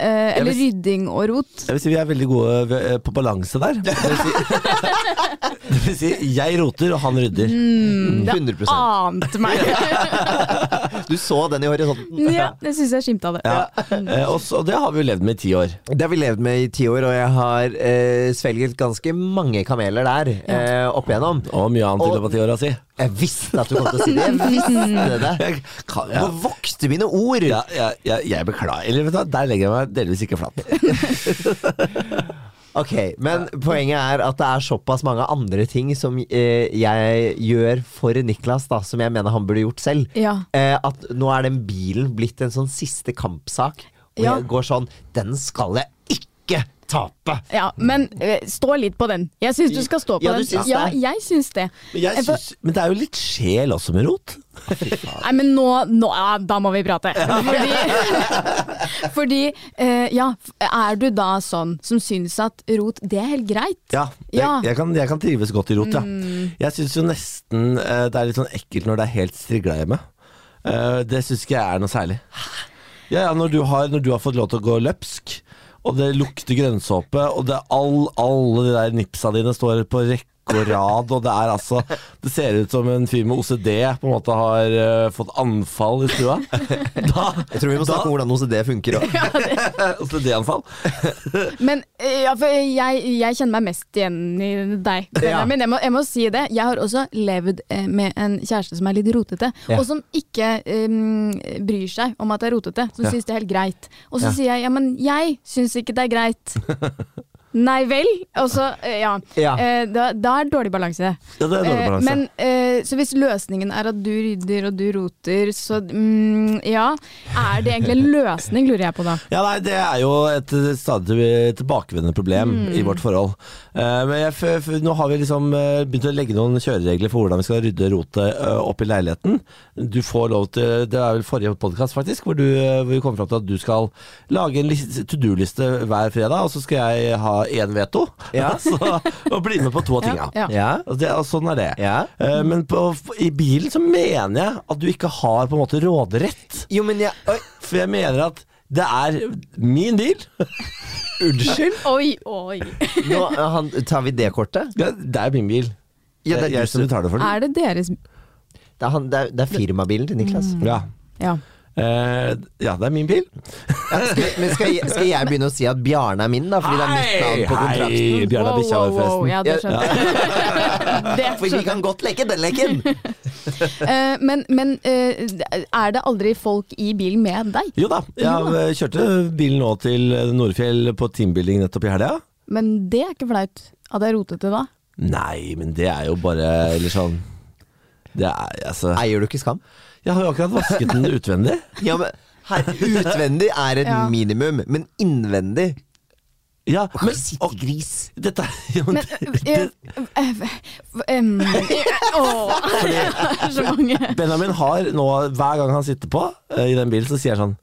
Speaker 4: Eh, eller
Speaker 2: vil-
Speaker 4: rydding og rot?
Speaker 2: Jeg vil si vi er veldig gode ved- eh, på balanse der. Det vil, si, *laughs* det vil si, jeg roter, og han rydder.
Speaker 4: Mm,
Speaker 3: 100
Speaker 4: ah. Ante meg!
Speaker 3: Du så den i horisonten.
Speaker 4: ja, det syns jeg skimta det.
Speaker 2: Ja. Eh, Og, så, og det har vi jo levd med i ti år.
Speaker 3: Det har vi levd med i ti år, og jeg har eh, svelget ganske mange kameler der eh, opp igjennom.
Speaker 2: Og mye annet i
Speaker 3: Og-
Speaker 2: løpet av ti åra si.
Speaker 3: Jeg visste at du kom til å si det.
Speaker 4: *laughs*
Speaker 3: Jeg visste det.
Speaker 2: Jeg, kan,
Speaker 3: Nå
Speaker 2: ja.
Speaker 3: vokste mine ord.
Speaker 2: Ja, jeg, jeg, jeg beklager. Eller vet du, hva, der legger jeg meg delvis ikke flatt.
Speaker 3: Ok, Men poenget er at det er såpass mange andre ting som eh, jeg gjør for Niklas, da, som jeg mener han burde gjort selv.
Speaker 4: Ja.
Speaker 3: Eh, at nå er den bilen blitt en sånn siste kampsak. Og
Speaker 4: Ja.
Speaker 3: jeg går sånn Den skal jeg ikke tape!
Speaker 4: Ja, men eh, stå litt på den. Jeg syns du skal stå på
Speaker 3: Ja, du
Speaker 4: den.
Speaker 3: syns
Speaker 4: ja,
Speaker 3: det?
Speaker 4: jeg syns det.
Speaker 2: Men, jeg
Speaker 4: For-
Speaker 2: synes, men det er jo litt sjel også med rot.
Speaker 4: Nei, men nå, nå ja, Da må vi prate. Fordi, *laughs* fordi eh, ja, er du da sånn som syns at rot, det er helt greit?
Speaker 2: Ja, jeg,
Speaker 4: Ja. Mm.
Speaker 2: jeg, kan, jeg kan trives godt i rot, ja. Jeg syns jo nesten eh, det er litt sånn ekkelt når det er helt strigla hjemme. Eh, det syns ikke jeg er noe særlig. Ja, ja, når du, har, når du har fått lov til å gå løpsk, og det lukter grønnsåpe, og det er all, alle de der nipsa dine står på rekke og rad, og det er altså Det ser ut som en fyr med OCD på en måte har eh, fått anfall i
Speaker 4: *laughs*
Speaker 2: stua. Da,
Speaker 3: Jeg tror vi må
Speaker 2: da-
Speaker 3: snakke om hvordan OCD funker. også.
Speaker 2: *laughs* OCD-anfall.
Speaker 4: Men eh, ja, for jeg, jeg kjenner meg mest igjen i deg, Benjamin. Jeg, må, jeg må si det. Jeg har også levd eh, med en kjæreste som er litt rotete,
Speaker 3: Ja.
Speaker 4: og som ikke eh, bryr seg om at det er rotete. Som
Speaker 2: Ja.
Speaker 4: syns det er helt greit. Og så
Speaker 2: Ja. *laughs*
Speaker 4: sier jeg ja, men jeg syns ikke det er greit. Nei vel? Og så, eh, ja.
Speaker 3: Ja.
Speaker 4: Eh, Da, da er det dårlig balanse.
Speaker 2: Ja, det er dårlig
Speaker 4: Eh,
Speaker 2: balanse.
Speaker 4: Men, eh, så hvis løsningen er at du rydder og du roter, så mm, ja. Er det egentlig en løsning, lurer jeg på da.
Speaker 2: Ja, nei, Det er jo et eh, stadig til- tilbakevendende problem
Speaker 4: Mm.
Speaker 2: i vårt forhold. Eh, men jeg, f f nå har vi liksom eh, begynt å legge noen kjøreregler for hvordan vi skal rydde rotet eh, opp i leiligheten. Du får lov til Det er vel forrige podkast, faktisk, hvor, du, eh, hvor vi kom fram til at du skal lage en lis- to do-liste hver fredag, og så skal jeg ha én veto.
Speaker 3: Ja.
Speaker 2: *laughs* så, og bli med på to av tinga.
Speaker 4: Ja.
Speaker 3: Ja.
Speaker 2: Og Det, og sånn er det.
Speaker 3: Ja.
Speaker 2: Eh, men på, i bilen så mener jeg at du ikke har på en måte råderett.
Speaker 3: *laughs* Jo, men jeg Oi,
Speaker 2: For jeg mener at det er min bil. *laughs*
Speaker 3: unnskyld?
Speaker 4: Oi, oi.
Speaker 3: Nå, eh, han, tar vi det kortet?
Speaker 2: Det, det er min bil.
Speaker 3: Ja, det er
Speaker 2: jeg, jeg
Speaker 3: du
Speaker 2: som
Speaker 3: som-
Speaker 2: betaler for den.
Speaker 4: Er det deres
Speaker 3: Det er, han, det er, det er firmabilen til Niklas.
Speaker 2: Ja.
Speaker 4: Ja.
Speaker 2: Eh, ja, det er min bil.
Speaker 3: Ja, skal, men skal jeg, skal jeg begynne å si at Bjarne er min, da? Fordi det er mitt navn på kontrakten?
Speaker 2: hei, Bjarne
Speaker 4: Wow,
Speaker 2: Bikkja var
Speaker 4: wow, wow.
Speaker 2: forresten.
Speaker 4: Ja, det
Speaker 3: Ja.
Speaker 4: skjønner *laughs* jeg. Det
Speaker 3: For vi
Speaker 4: skjønner jeg.
Speaker 3: kan godt leke den leken!
Speaker 4: Eh, Men, men eh, er det aldri folk i bilen med deg?
Speaker 2: Jo da, jeg eh, kjørte bilen nå til Nordfjell på teambuilding nettopp i helga.
Speaker 4: Men det er ikke flaut. At jeg rotet det da.
Speaker 2: Nei, men det er jo bare Eller sånn Det er altså
Speaker 3: Eier du ikke skam?
Speaker 2: Jeg har jo akkurat vasket den utvendig.
Speaker 3: Ja, men her, Utvendig er et
Speaker 4: Ja.
Speaker 3: minimum, men innvendig
Speaker 2: Ja,
Speaker 3: *laughs*
Speaker 2: men
Speaker 3: Sitt
Speaker 2: og,
Speaker 3: gris.
Speaker 2: dette, ja, men,
Speaker 4: Men eh, eh, eh, *laughs* em, Åh, *laughs* det er så mange.
Speaker 2: *laughs* Benjamin har nå, hver gang han sitter på eh, i den bilen, så sier han sånn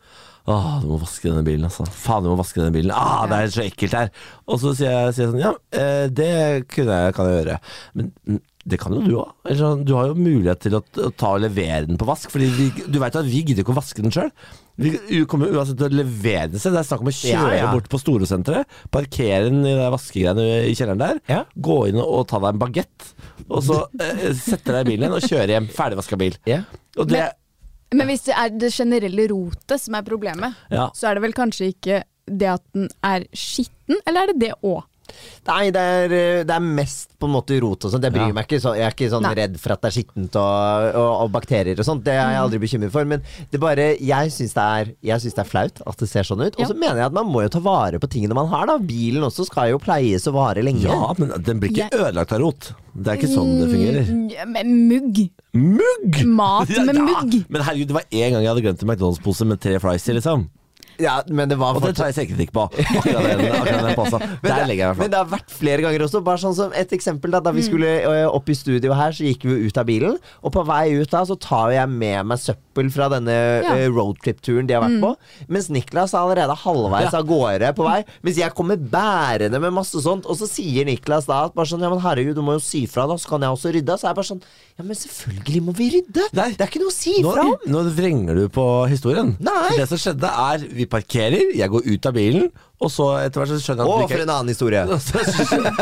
Speaker 2: Åh, du må vaske denne bilen, altså. Faen, du må vaske denne bilen. Ah, det er så ekkelt her. Og så sier jeg, sier jeg sånn, ja, eh, det kunne jeg, kan jeg gjøre. Men mm, det kan jo du òg. Sånn, du har jo mulighet til å, å ta og levere den på vask. Fordi vi, du veit at vi gidder ikke å vaske den sjøl. Vi kommer uansett til å levere den selv. Det er snakk om å kjøre
Speaker 3: Ja, ja.
Speaker 2: bort på Storosenteret, parkere den i de vaskegreiene i kjelleren der,
Speaker 3: Ja.
Speaker 2: gå inn og ta deg en bagett, og så eh, sette deg i bilen igjen og kjøre hjem. Ferdigvaska bil.
Speaker 3: Ja.
Speaker 2: Og det,
Speaker 4: Men hvis det er det generelle rotet som er problemet,
Speaker 2: ja.
Speaker 4: så er det vel kanskje ikke det at den er skitten, eller er det det òg?
Speaker 3: Nei, det er, eh, det er mest på en måte rot og sånt. Jeg bryr
Speaker 2: Ja.
Speaker 3: meg ikke. Så jeg er ikke sånn
Speaker 4: Nei.
Speaker 3: redd for at det er skittent og, og, og bakterier og sånt. Det er jeg aldri bekymret for. Men det er bare, jeg syns det, er- jeg syns det er flaut at det ser sånn ut. Og
Speaker 4: Ja.
Speaker 3: så mener jeg at man må jo ta vare på tingene man har. da Bilen også skal jo pleies og vare lenge.
Speaker 2: ja, men den blir ikke
Speaker 4: Jeg-
Speaker 2: ødelagt av rot. Det er ikke sånn
Speaker 3: Mm.
Speaker 2: det fungerer.
Speaker 4: Med mugg.
Speaker 2: Mugg! *laughs*
Speaker 4: Mat med mugg.
Speaker 2: Men herregud, det var én gang jeg hadde glemt en McDonald's-pose med tre fries i, liksom.
Speaker 3: Ja, men det var
Speaker 2: Og det tar
Speaker 3: fortsatt-
Speaker 2: jeg selvkritikk på. Akkurat den, akkurat den posen.
Speaker 3: *laughs* Men
Speaker 2: Der
Speaker 3: det-
Speaker 2: legger jeg meg
Speaker 3: Men
Speaker 2: flat.
Speaker 3: det har vært flere ganger også. Bare sånn som et eksempel Da, da
Speaker 4: Mm.
Speaker 3: vi skulle ø, opp i studio her, så gikk vi jo ut av bilen. Og på vei ut da, så tar jeg med meg søppel fra denne
Speaker 4: Ja.
Speaker 3: ø,
Speaker 4: Mm.
Speaker 3: roadtrip-turen de har vært på. Mens Niklas er allerede halvveis av gårde på vei. Mens jeg kommer bærende med masse sånt. Og så sier Niklas da at bare sånn Ja, men herregud, du må jo si fra, da. Så kan jeg også rydde. Så er jeg bare sånn Ja, men selvfølgelig må vi rydde.
Speaker 2: Nei.
Speaker 3: Det er ikke noe å si
Speaker 2: Nå,
Speaker 3: fra om.
Speaker 2: nå vrenger du på historien.
Speaker 3: Nei.
Speaker 2: Det som skjedde, er vi parkerer, jeg går ut av bilen, og så etter hvert så skjønner jeg
Speaker 3: Å,
Speaker 2: at
Speaker 3: for
Speaker 2: du
Speaker 3: en
Speaker 2: ikke
Speaker 3: annen historie.
Speaker 2: *laughs* så, så skjønner jeg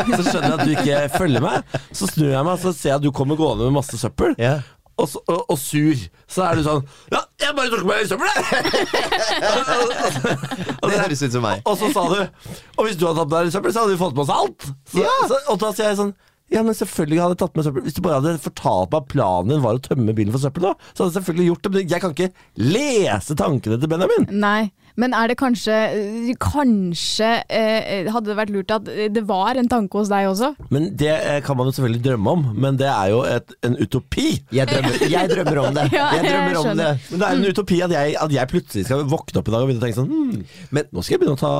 Speaker 2: at du ikke følger meg. Så snur jeg meg og ser jeg at du kommer gående med masse søppel.
Speaker 3: Ja.
Speaker 2: Og, så, og, og sur. Så er du sånn Ja, jeg *laughs* bare tok meg i søppelet!
Speaker 3: Det høres ut som meg.
Speaker 2: Og så sa du Og hvis du hadde tatt med deg søppel, så hadde vi fått med oss alt. Så,
Speaker 3: Ja.
Speaker 2: så, og da sier jeg sånn ja, men selvfølgelig hadde jeg tatt med søppel Hvis du bare hadde fortalt meg at planen din var å tømme bilen for søppel, da, så hadde jeg selvfølgelig gjort det. Men jeg kan ikke lese tankene til Benjamin.
Speaker 4: Nei. Men er det kanskje Kanskje eh, hadde det vært lurt at det var en tanke hos deg også?
Speaker 2: Men Det eh, kan man jo selvfølgelig drømme om, men det er jo et, en utopi.
Speaker 3: Jeg drømmer, jeg drømmer om det.
Speaker 4: *laughs* Ja,
Speaker 3: Jeg
Speaker 4: jeg
Speaker 3: drømmer om det.
Speaker 4: skjønner.
Speaker 2: Men det er en utopi at jeg, at jeg plutselig skal våkne opp i dag og begynne å tenke sånn hmm,
Speaker 3: Men-
Speaker 2: Nå skal jeg begynne å ta,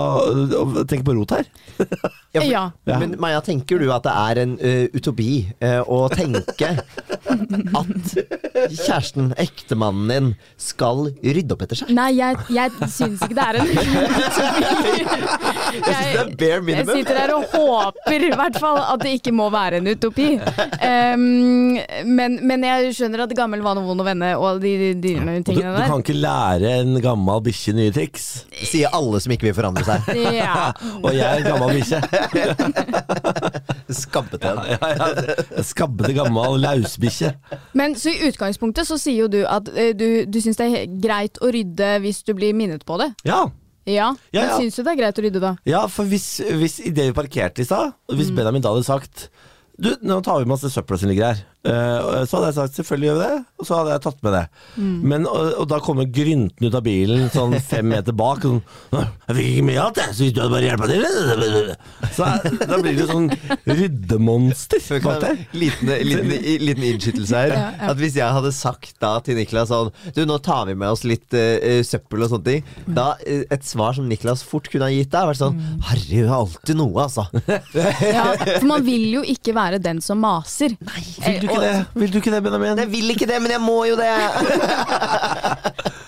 Speaker 2: å tenke på rot her.
Speaker 3: Ja, for,
Speaker 4: Ja.
Speaker 2: Ja.
Speaker 3: Men Maja, tenker du at det er en ø, utopi ø, å tenke at kjæresten, ektemannen din, skal rydde opp etter seg?
Speaker 4: Nei, jeg, jeg syns ikke det er en
Speaker 3: Jeg synes det er bare minimum.
Speaker 4: Jeg sitter her og håper i hvert fall at det ikke må være en utopi. Ehm, men, men jeg skjønner at gammel vane, vond og venne og de, de, de
Speaker 2: Og du, du
Speaker 4: tingene der.
Speaker 2: kan ikke lære en gammel bikkje nye triks.
Speaker 3: Sier alle som ikke vil forandre seg.
Speaker 4: *laughs* Ja.
Speaker 2: Og jeg er en gammel bikkje. *laughs*
Speaker 3: Skabbete.
Speaker 2: Ja, ja. En Skabbete gammel lausbikkje.
Speaker 4: Men så i utgangspunktet så sier jo du at eh, du, du syns det er he- greit å rydde hvis du blir minnet på det.
Speaker 2: Ja.
Speaker 4: Ja,
Speaker 2: Ja, ja.
Speaker 4: men syns du det er greit å rydde da?
Speaker 2: ja, for hvis, hvis i det vi parkerte i stad, hvis Benjamin da hadde sagt du, nå tar vi med oss det søpla som ligger her. Eh, Så hadde jeg sagt selvfølgelig gjør vi det, og så hadde jeg tatt med det. Men, og, og da kommer Grynten ut av bilen sånn fem meter bak. og Sånn, 'Jeg fikk ikke med alt, jeg, så hvis du hadde bare hjelpa til' Så er- Da blir det sånn ryddemonster bak der.
Speaker 3: Liten, *laughs* liten, liten innskytelse her. At Hvis jeg hadde sagt da til Niklas sånn Du, nå tar vi med oss litt eh, eh, søppel og sånne ting. Da eh, Et svar som Niklas fort kunne ha gitt deg, vært sånn Harry har alltid noe, altså.
Speaker 4: Ja, for man vil jo ikke være den som maser. Nei,
Speaker 2: Vil du ikke det, Vil du ikke det Benjamin?
Speaker 3: Jeg vil ikke det, men jeg må jo det!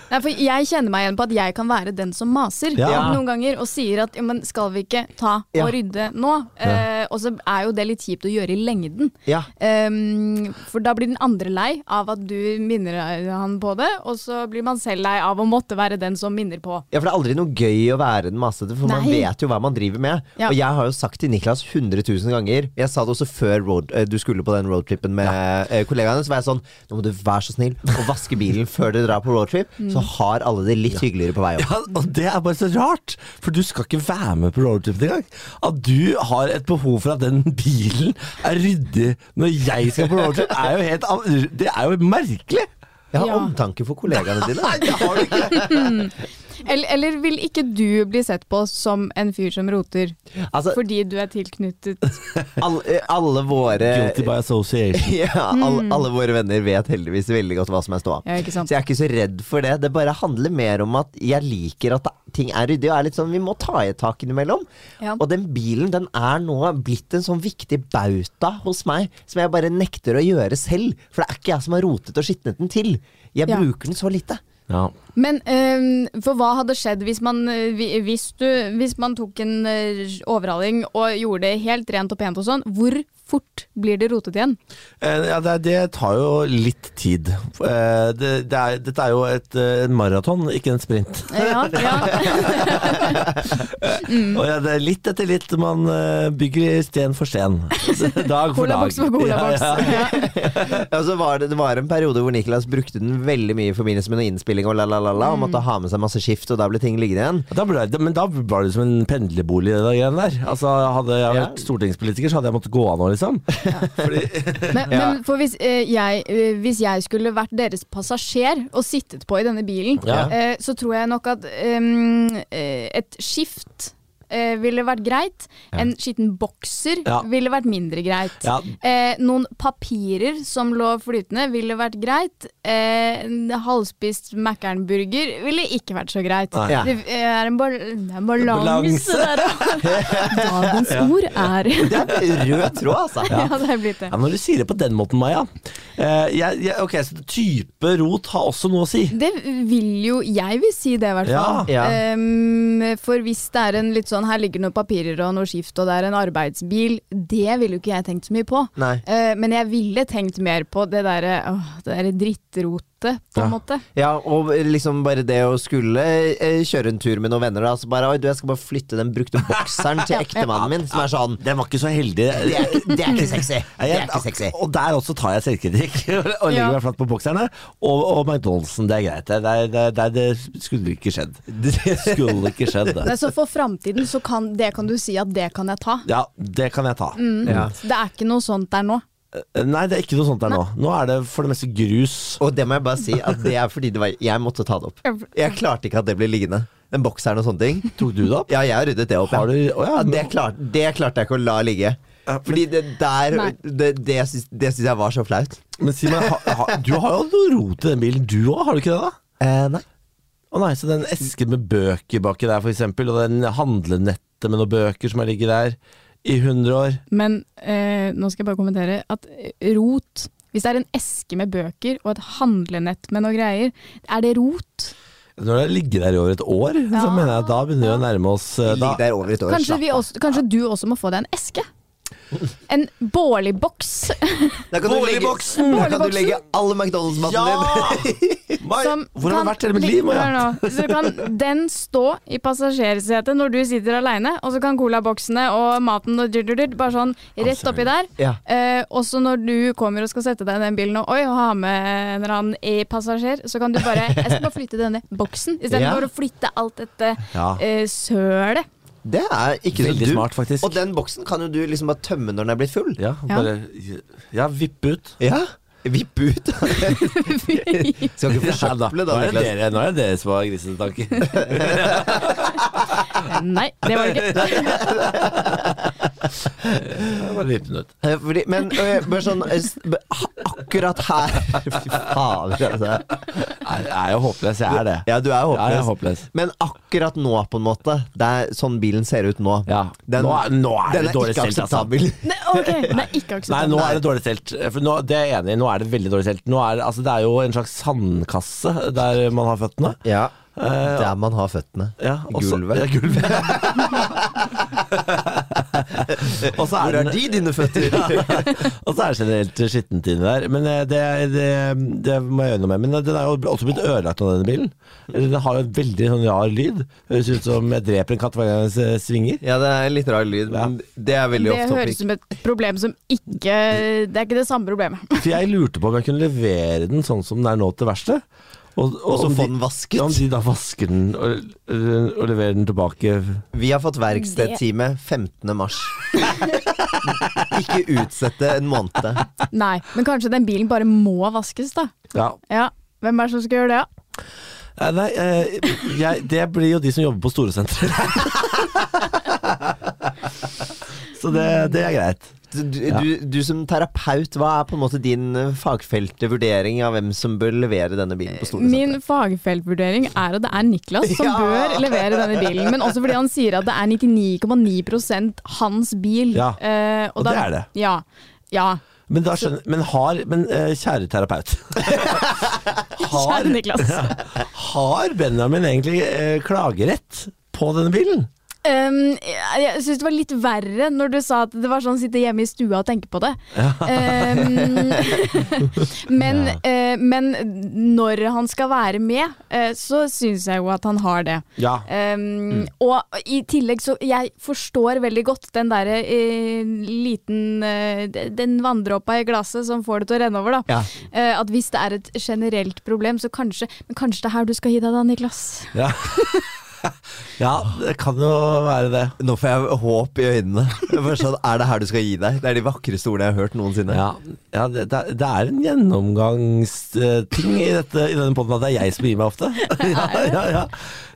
Speaker 4: Nei, for Jeg kjenner meg igjen på at jeg kan være den som maser
Speaker 2: Ja.
Speaker 4: noen ganger og sier at ja, men skal vi ikke ta
Speaker 3: Ja.
Speaker 4: og rydde nå? Eh, og så er jo det litt kjipt å gjøre i lengden.
Speaker 3: Ja.
Speaker 4: Ehm, for da blir den andre lei av at du minner han på det, og så blir man selv lei av å måtte være den som minner på.
Speaker 3: Ja, for Det er aldri noe gøy å være den masete, for man
Speaker 4: Nei.
Speaker 3: vet jo hva man driver med.
Speaker 4: Ja.
Speaker 3: Og jeg har jo sagt til Niklas 100 000 ganger Jeg sa det også før road, eh, du skulle på den roadtripen med eh, kollegaene. Så var jeg sånn Nå må du være så snill å vaske bilen *laughs* før dere drar på roadtrip, så har alle det litt hyggeligere på vei opp.
Speaker 2: Mm. Ja, og det er bare så rart, for du skal ikke være med på roadtrip engang. At du har et behov for at den bilen er ryddig når jeg skal på roadtrip, er jo helt an- Det er jo merkelig!
Speaker 3: Jeg har
Speaker 4: Ja.
Speaker 3: omtanke for
Speaker 2: *laughs*
Speaker 3: kollegaene dine.
Speaker 2: det har du ikke!
Speaker 4: Eller, eller vil ikke du bli sett på som en fyr som roter
Speaker 3: *laughs* Altså,
Speaker 4: fordi du er tilknyttet
Speaker 3: alle, eh, alle våre
Speaker 2: Guilty by association.
Speaker 3: *laughs* ja, alle, alle våre venner vet heldigvis veldig godt hva som er ståa.
Speaker 4: Mm. Ja, ikke sant.
Speaker 3: Så jeg er ikke så redd for det. Det bare handler mer om at jeg liker at det- ting er ryddig. Og er litt sånn, vi må ta i et tak innimellom.
Speaker 4: Ja.
Speaker 3: Og den bilen den er nå blitt en sånn viktig bauta hos meg, som jeg bare nekter å gjøre selv. For det er ikke jeg som har rotet og skitnet den til. Jeg
Speaker 4: Ja.
Speaker 3: bruker den så lite. *laughs*
Speaker 2: Ja.
Speaker 4: Men eh, for hva hadde skjedd hvis man, eh, vi- hvis du, hvis man tok en eh, overhaling og gjorde det helt rent og pent og sånn, hvor fort blir det
Speaker 2: *laughs*
Speaker 4: rotet igjen?
Speaker 2: Eh, ja det, er- det tar jo litt tid. Eh, Det, det er, dette er jo et eh, maraton, ikke en sprint.
Speaker 4: Eh, Ja, ja.
Speaker 2: Og ja, det er litt etter litt man eh, bygger sten for sten. Dag for dag.
Speaker 4: Colaboks for colaboks.
Speaker 2: Ja, ja.
Speaker 3: Ja, så var det, det var en periode hvor Niklas brukte den veldig mye i forbindelse med noe innspilling og la, la, la, la, og
Speaker 4: Mm.
Speaker 3: måtte ha med seg masse skift, og da ble ting liggende igjen.
Speaker 2: Da ble, det- men da var det som en pendlerbolig, det der greiene der. Altså, hadde jeg
Speaker 3: Ja.
Speaker 2: vært stortingspolitiker, så hadde jeg måttet gå av nå, liksom.
Speaker 4: Men, men for hvis, eh, jeg, eh, hvis jeg skulle vært deres passasjer og sittet på i denne bilen,
Speaker 2: Ja.
Speaker 4: eh, så tror jeg nok at em, eh, et skift eh, ville vært greit. En skitten bokser
Speaker 2: Ja.
Speaker 4: ville vært mindre greit.
Speaker 2: Ja.
Speaker 4: Eh, noen papirer som lå flytende, ville vært greit. Eh, en halvspist Mækkern-burger ville ikke vært så greit.
Speaker 2: Nei.
Speaker 3: Ja.
Speaker 4: Det eh, er en, bal det er en balanse
Speaker 2: Balanse.
Speaker 4: der også.
Speaker 2: *laughs*
Speaker 4: Dagens ord er
Speaker 3: Det er rød tråd, altså.
Speaker 4: *laughs* Ja, det er blitt det.
Speaker 2: Ja, når du sier det på den måten, Maja. Eh, jeg, jeg, ok, så type rot har også noe å si.
Speaker 4: Det vil jo Jeg vil si det, i hvert fall.
Speaker 3: Ja. Ja.
Speaker 4: Ehm, for hvis det er en litt sånn Her ligger noen papirer og noe skift, og det er en arbeidsbil. Det ville jo ikke jeg tenkt så mye på.
Speaker 3: Nei.
Speaker 4: Eh, men jeg ville tenkt mer på det derre åh, det derre drittrotet, på en måte.
Speaker 3: Ja, og liksom bare det å skulle eh, kjøre en tur med noen venner, da, så bare Oi, du, jeg skal bare flytte den brukte bokseren
Speaker 2: *laughs*
Speaker 3: til ektemannen min, som er sånn
Speaker 2: Den var ikke så heldig.
Speaker 3: Det er, det er ikke
Speaker 2: *laughs*
Speaker 3: sexy. Det er
Speaker 2: Jeg-
Speaker 3: ikke sexy.
Speaker 2: Og der også tar jeg selvkritikk *laughs* og legger
Speaker 4: Ja.
Speaker 2: meg flatt på bokserne. Og, og McDonald'sen, det er greit. Det, det, det, det, det skulle ikke
Speaker 3: *laughs*
Speaker 2: skjedd. Det skulle ikke skjedd.
Speaker 4: Nei,
Speaker 2: Det.
Speaker 4: Eh, så for framtiden så kan det kan du si at det kan jeg ta.
Speaker 2: Ja, det kan jeg ta.
Speaker 3: Ja.
Speaker 4: Det er ikke noe sånt der nå.
Speaker 2: Eh, Nei, det er ikke noe sånt der nå. Nå er det for det meste grus.
Speaker 3: Og det må jeg bare si, at det er fordi det var Jeg måtte ta det opp. Jeg klarte ikke at det ble liggende. Den bokseren og sånne ting.
Speaker 2: *laughs* Tok du det opp?
Speaker 3: Ja, jeg har ryddet det opp. ja.
Speaker 2: Har du- å ja,
Speaker 3: ja,
Speaker 2: men-
Speaker 3: det, klarte, det klarte jeg ikke å la ligge. Fordi det der
Speaker 4: Nei.
Speaker 3: Det, det, syns- det syns jeg var så flaut.
Speaker 2: Men si meg, ha, ha, du har jo noe rot i den bilen du òg, har du ikke det da?
Speaker 3: Eh, nei.
Speaker 2: Å nei, så den esken med bøker baki der for eksempel, og den handlenettet med noen bøker som har ligget der i 100 år.
Speaker 4: Men eh, nå skal jeg bare kommentere at eh, rot Hvis det er en eske med bøker og et handlenett med noe greier, er det rot?
Speaker 2: Når det har ligget der i over et år, så
Speaker 4: Ja.
Speaker 2: mener jeg at da begynner vi å nærme oss eh, da,
Speaker 3: Ligg der over et år.
Speaker 4: Kanskje,
Speaker 3: slapp
Speaker 4: vi
Speaker 3: av.
Speaker 4: også, kanskje du også må få deg en eske? En bårligboks
Speaker 3: Da kan du legge-
Speaker 2: Boligboksen!
Speaker 3: Da kan du legge all
Speaker 2: Ja!
Speaker 3: McDonald's-maten din.
Speaker 2: Mai,
Speaker 4: *laughs* som
Speaker 2: hvor har
Speaker 4: kan
Speaker 2: du vært hele mitt
Speaker 4: ligge-
Speaker 2: liv? Maja?
Speaker 4: Hør nå. Så kan den stå i passasjersetet når du sitter aleine, og så kan colaboksene og maten og dyr, dyr, dyr, bare sånn rett oppi der.
Speaker 3: Ja.
Speaker 4: Eh, også når du kommer og skal sette deg i den bilen og oi, ha med en eller annen e-passasjer, så kan du bare Jeg skal bare flytte denne boksen istedenfor
Speaker 3: Ja.
Speaker 4: for å flytte alt dette
Speaker 2: Ja.
Speaker 4: eh, sølet.
Speaker 3: Det er ikke så
Speaker 2: Veldig
Speaker 3: dumt.
Speaker 2: smart, faktisk.
Speaker 3: Og den boksen kan jo du liksom bare tømme når den er blitt full.
Speaker 2: Ja, bare Ja, vipp ut.
Speaker 3: Ja, Vipp
Speaker 4: *laughs*
Speaker 3: ut. Skal ikke
Speaker 2: Ja, da.
Speaker 3: forsøple,
Speaker 2: Nå
Speaker 3: da.
Speaker 2: er det
Speaker 3: Niklas.
Speaker 2: dere, nå er det dere som har
Speaker 4: *laughs*
Speaker 2: grisetanker.
Speaker 4: Nei, det var
Speaker 3: *laughs*
Speaker 4: det ikke.
Speaker 2: Bare vipp den ut.
Speaker 3: Eh, Fordi, men eh, bare sånn eh, s- b- ha- Akkurat
Speaker 2: *laughs*
Speaker 3: her Fy fader, altså.
Speaker 2: Nei, Jeg er jo håpløs, jeg er det.
Speaker 3: Ja, du er jo
Speaker 2: Ja, jeg er
Speaker 3: håpløs.
Speaker 2: håpløs.
Speaker 3: Men akkurat nå, på en måte. Det er sånn bilen ser ut nå.
Speaker 2: Ja.
Speaker 3: Den,
Speaker 2: nå, er, nå er
Speaker 3: den
Speaker 2: det
Speaker 3: er
Speaker 2: dårlig
Speaker 3: ikke
Speaker 2: stelt, altså.
Speaker 3: akseptabel.
Speaker 2: *laughs*
Speaker 4: Nei, ok, det er ikke
Speaker 2: Nei,
Speaker 4: akseptabelt.
Speaker 2: nå er det dårlig stelt. For nå, det er jeg enig i. Nå er det veldig dårlig stelt. Nå er, det- altså, det er jo en slags sandkasse der man har føttene.
Speaker 3: Ja.
Speaker 2: Eh,
Speaker 3: Der man har føttene.
Speaker 2: ja, og så-
Speaker 3: Gulvet.
Speaker 2: Ja,
Speaker 3: *laughs*
Speaker 2: gulvet. og så er
Speaker 3: Hvor er
Speaker 2: den
Speaker 3: de dine føtter?
Speaker 2: Og så er det generelt skittent inni der. Men eh, det, det, det må jeg gjøre noe med. Men eh, den er jo også blitt ødelagt av denne bilen. Eller Den har jo en veldig sånn rar lyd. Høres ut som jeg dreper en katt hver gang jeg s- eh, svinger.
Speaker 3: *laughs* Ja, det er litt rar lyd, men det er veldig
Speaker 4: Det
Speaker 3: off
Speaker 4: høres
Speaker 3: topic.
Speaker 4: ut som et problem som ikke Det er ikke det samme problemet.
Speaker 2: For jeg lurte på om jeg kunne levere den sånn som den er nå til verkstedet. Og, og,
Speaker 3: Og så
Speaker 2: om
Speaker 3: få
Speaker 2: de-
Speaker 3: den
Speaker 2: Ja, om
Speaker 3: vasket.
Speaker 2: de da vasker den og, og leverer den tilbake.
Speaker 3: Vi har fått verkstedtime 15. mars. *laughs* Ikke utsette en måned.
Speaker 4: *laughs* Nei, men kanskje den bilen bare må vaskes, da.
Speaker 2: Ja.
Speaker 4: Ja, Hvem er det som skal gjøre det, da?
Speaker 2: Eh, Nei, eh, jeg, det blir jo de som jobber på Storesenteret. *laughs* Så det, det er greit.
Speaker 3: Du, du,
Speaker 2: Ja.
Speaker 3: du, du som terapeut, hva er på en måte din eh, fagfelte vurdering av hvem som bør levere denne bilen på
Speaker 4: Min
Speaker 3: Storesenteret?
Speaker 4: fagfeltvurdering er at det er Niklas
Speaker 2: *laughs*
Speaker 4: som
Speaker 3: Ja!
Speaker 4: bør levere denne bilen. Men også fordi han sier at det er 99,9 hans bil.
Speaker 2: Ja,
Speaker 4: Eh,
Speaker 2: og det er det.
Speaker 4: Ja. ja.
Speaker 2: Men, da skjønner, men, har, men eh, kjære terapeut *laughs* har,
Speaker 4: *laughs* Kjære Niklas.
Speaker 2: *laughs* har Benjamin egentlig eh, klagerett på denne bilen?
Speaker 4: Um, jeg jeg syns det var litt verre når du sa at det var sånn sitte hjemme i stua og tenke på det. Um, *laughs* men, eh, men når han skal være med, eh, så syns jeg jo at han har det.
Speaker 2: Ja.
Speaker 4: Um, Og i tillegg så Jeg forstår veldig godt den derre eh, liten eh, de- Den vanndråpa i glasset som får det til å renne over, da.
Speaker 3: Ja.
Speaker 4: Eh, at hvis det er et generelt problem, så kanskje Men kanskje det er her du skal gi deg, da, Niklas.
Speaker 2: Ja. *laughs* ja, det kan jo være det.
Speaker 3: Nå får jeg håp i øynene. Jeg bare sånn, er det her du skal gi deg? Det er de vakreste ordene jeg har hørt noensinne.
Speaker 2: Ja, ja det, det er- det er en gjennomgangsting eh, i, dette, i denne podden at det er jeg som gir meg
Speaker 3: *laughs*
Speaker 2: ofte. *laughs* Ja, ja, ja.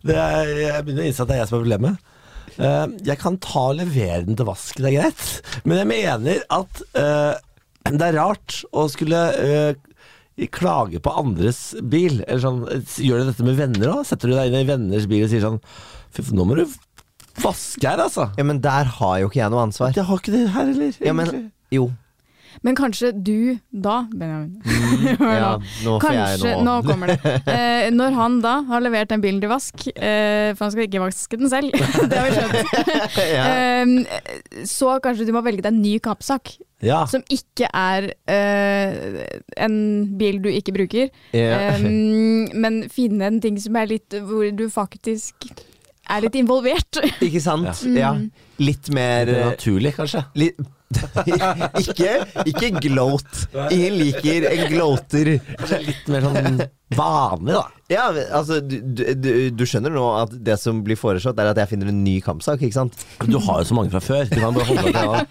Speaker 2: Det er, jeg begynner å innse at det er jeg som er problemet. Eh, jeg kan ta og levere den til vask, det er greit. Men jeg mener at eh, det er rart å skulle eh, klage på andres bil. Eller sånn, gjør du dette med venner òg? Setter du deg inn i venners bil og sier sånn Fy faen, nå må du vaske her, altså.
Speaker 3: Ja, men der har jo ikke jeg noe ansvar.
Speaker 2: Jeg har ikke det her heller.
Speaker 3: Ja, men
Speaker 2: egentlig.
Speaker 3: jo.
Speaker 4: Men kanskje du da, Benjamin *laughs* Hør
Speaker 3: Mm, Ja,
Speaker 4: nå.
Speaker 3: nå får
Speaker 4: Kanskje,
Speaker 3: jeg
Speaker 4: nå
Speaker 3: noe. *laughs*
Speaker 4: kommer det. Eh, når han da har levert den bilen til vask, eh, for han skal ikke vaske den
Speaker 3: *laughs*
Speaker 4: selv, *laughs* det har vi skjønt,
Speaker 3: Ja.
Speaker 4: eh, så kanskje du må velge deg en ny kappsak.
Speaker 3: Ah.
Speaker 2: Ja.
Speaker 4: Som ikke er eh, en bil du ikke bruker,
Speaker 3: Ja.
Speaker 4: eh, men finne en ting som er litt hvor du faktisk er litt involvert. *laughs*
Speaker 3: Ikke sant? Ja. Litt mer
Speaker 2: Det er
Speaker 3: eh,
Speaker 2: naturlig, kanskje.
Speaker 3: Litt *laughs* ikke, ikke gloat. Ingen liker en gloater.
Speaker 2: Litt mer sånn vanlig, da.
Speaker 3: Ja, men, altså, du, du, du- du skjønner nå at det som blir foreslått, er at jeg finner en ny kampsak, ikke sant?
Speaker 2: Du har jo så mange fra før. Du kan bare holde deg til en.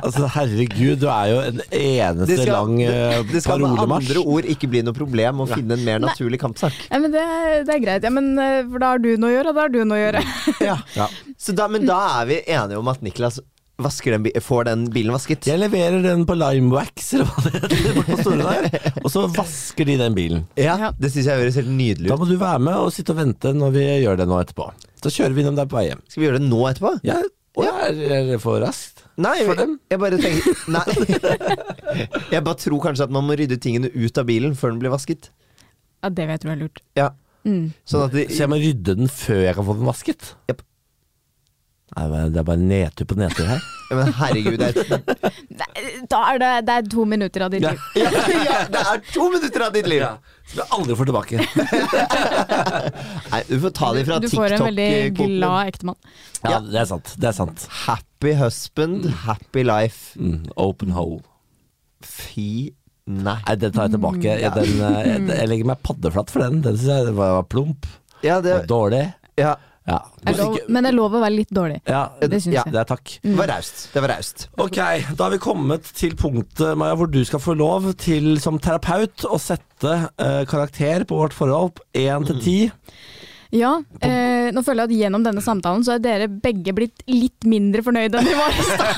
Speaker 2: Altså, herregud, du er jo en eneste lang eh,
Speaker 3: det skal med
Speaker 2: parolemarsj.
Speaker 3: andre ord ikke bli noe problem å finne en mer naturlig kampsak.
Speaker 4: Ja, men det, det er greit, ja, men, eh, for da har du noe å gjøre, og da har du noe å gjøre.
Speaker 3: Mm.
Speaker 2: Ja.
Speaker 3: Så da, men da er vi enige om at Niklas vasker den, bi- får den bilen vasket.
Speaker 2: Jeg leverer den på Limewax, eller hva det heter, på Store der, og så vasker de den bilen.
Speaker 3: Ja, Det syns jeg høres helt nydelig
Speaker 2: Da
Speaker 3: ut.
Speaker 2: må du være med og sitte og vente når vi gjør det nå etterpå. Så kjører vi dem der på vei hjem.
Speaker 3: Skal vi gjøre det nå etterpå?
Speaker 2: Ja, og er er det for raskt?
Speaker 3: Nei,
Speaker 2: For dem?
Speaker 3: jeg bare tenker Nei. *laughs* Jeg bare tror kanskje at man må rydde tingene ut av bilen før den blir vasket.
Speaker 4: Ja, det vet du er lurt.
Speaker 3: Ja.
Speaker 4: Mm.
Speaker 3: Sånn at det,
Speaker 2: Så jeg må rydde den før jeg kan få den vasket?
Speaker 3: Jepp.
Speaker 2: Nei, men det er bare nedtur på nedtur her.
Speaker 3: Ja, Men herregud, det er,
Speaker 4: Da er det, det er to minutter av *laughs* ditt liv.
Speaker 3: ja, ja, det er to minutter av ditt liv!
Speaker 2: *laughs* Som jeg aldri får tilbake.
Speaker 3: Nei, du får ta det fra eh,
Speaker 4: Du får en veldig
Speaker 3: TikTok-kvoten.
Speaker 4: glad ektemann.
Speaker 2: *laughs* Ja, det er sant. Det er sant.
Speaker 3: Happy husband, happy life.
Speaker 2: Mm, open hole.
Speaker 3: Fy nei.
Speaker 2: Nei, den tar jeg tilbake. Jeg, Mm. den, eh, jeg, jeg legger meg paddeflatt for den. Den syns jeg var, var plump.
Speaker 3: Ja, det,
Speaker 2: Var dårlig.
Speaker 3: ja,
Speaker 2: Ja.
Speaker 4: Er lov, men det er lov å være litt dårlig.
Speaker 2: Ja,
Speaker 4: Det syns
Speaker 2: ja,
Speaker 4: jeg.
Speaker 2: det er takk.
Speaker 3: Det var raust. Det var raust.
Speaker 2: Ok, da har vi kommet til punktet, Maja, hvor du skal få lov til som terapeut å sette eh, karakter på vårt forhold én til ti.
Speaker 4: Ja, eh, nå føler jeg at gjennom denne samtalen så er dere begge blitt litt mindre fornøyde enn de var i stad.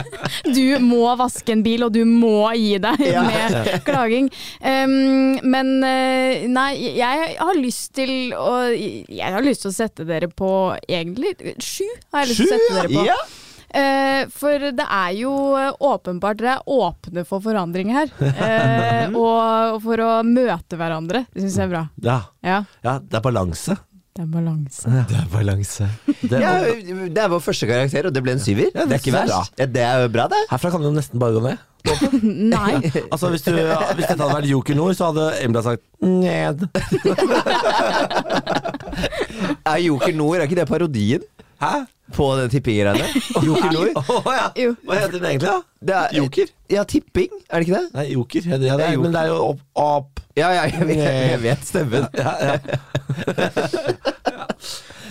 Speaker 3: *laughs*
Speaker 4: Du må vaske en bil, og du må gi deg med klaging. Em, men eh, nei, jeg har lyst til å Jeg har lyst til å sette dere på egentlig sju. har jeg lyst til å sette dere på.
Speaker 3: Ja.
Speaker 4: Eh, for det er jo eh, åpenbart dere er åpne for forandring her. Eh, og og for å møte hverandre. Det syns jeg er bra.
Speaker 2: Ja,
Speaker 4: Ja,
Speaker 2: ja, det er balanse.
Speaker 4: det er balanse.
Speaker 3: Det er balanse.
Speaker 2: Det,
Speaker 3: Ja, det er vår første karakter, og det ble en syver.
Speaker 2: Ja, det
Speaker 3: det er ikke
Speaker 2: synes jeg er
Speaker 3: verst. Ja, det er jo bra, det.
Speaker 2: Herfra kan det jo nesten bare gå ned.
Speaker 4: Nei.
Speaker 2: Altså, hvis, du, ja, hvis dette hadde vært Joker Nord, så hadde Embla sagt ned.
Speaker 3: Er Joker Nord, er ikke det parodien
Speaker 2: Hæ?
Speaker 3: på den tippinggreiene? *laughs* Joker Nord?
Speaker 2: Å ja.
Speaker 4: Jo.
Speaker 2: Hva heter den egentlig, da?
Speaker 3: Det er,
Speaker 2: Joker?
Speaker 3: Ja, tipping, er det ikke det?
Speaker 2: Nei, Joker. Ja, det, ja, det,
Speaker 3: Det er
Speaker 2: er- men
Speaker 3: Joker.
Speaker 2: det er jo opp. opp.
Speaker 3: Ja, ja, jeg vet, *laughs* jeg vet stemmen.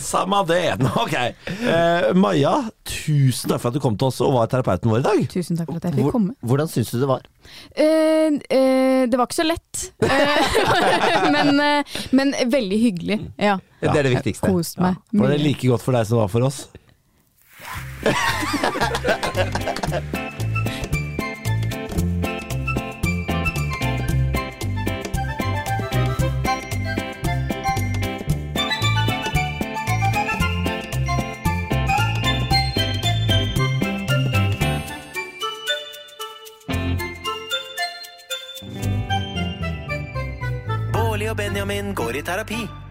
Speaker 2: Samme det. *laughs* Ok. Eh, Maja, tusen takk for at du kom til oss og var terapeuten vår i dag.
Speaker 4: *laughs* Tusen takk for at jeg fikk
Speaker 3: Hvor,
Speaker 4: komme.
Speaker 3: hvordan syns du det var?
Speaker 4: Eh, eh, det var ikke så lett, Eh, *laughs* men, eh, men veldig hyggelig. Ja.
Speaker 2: Ja.
Speaker 3: Det er det
Speaker 4: Jeg
Speaker 3: viktigste.
Speaker 4: koste meg.
Speaker 2: Var det
Speaker 4: mye.
Speaker 2: like godt for deg som det var for oss?
Speaker 1: Bårli og Benjamin går i terapi.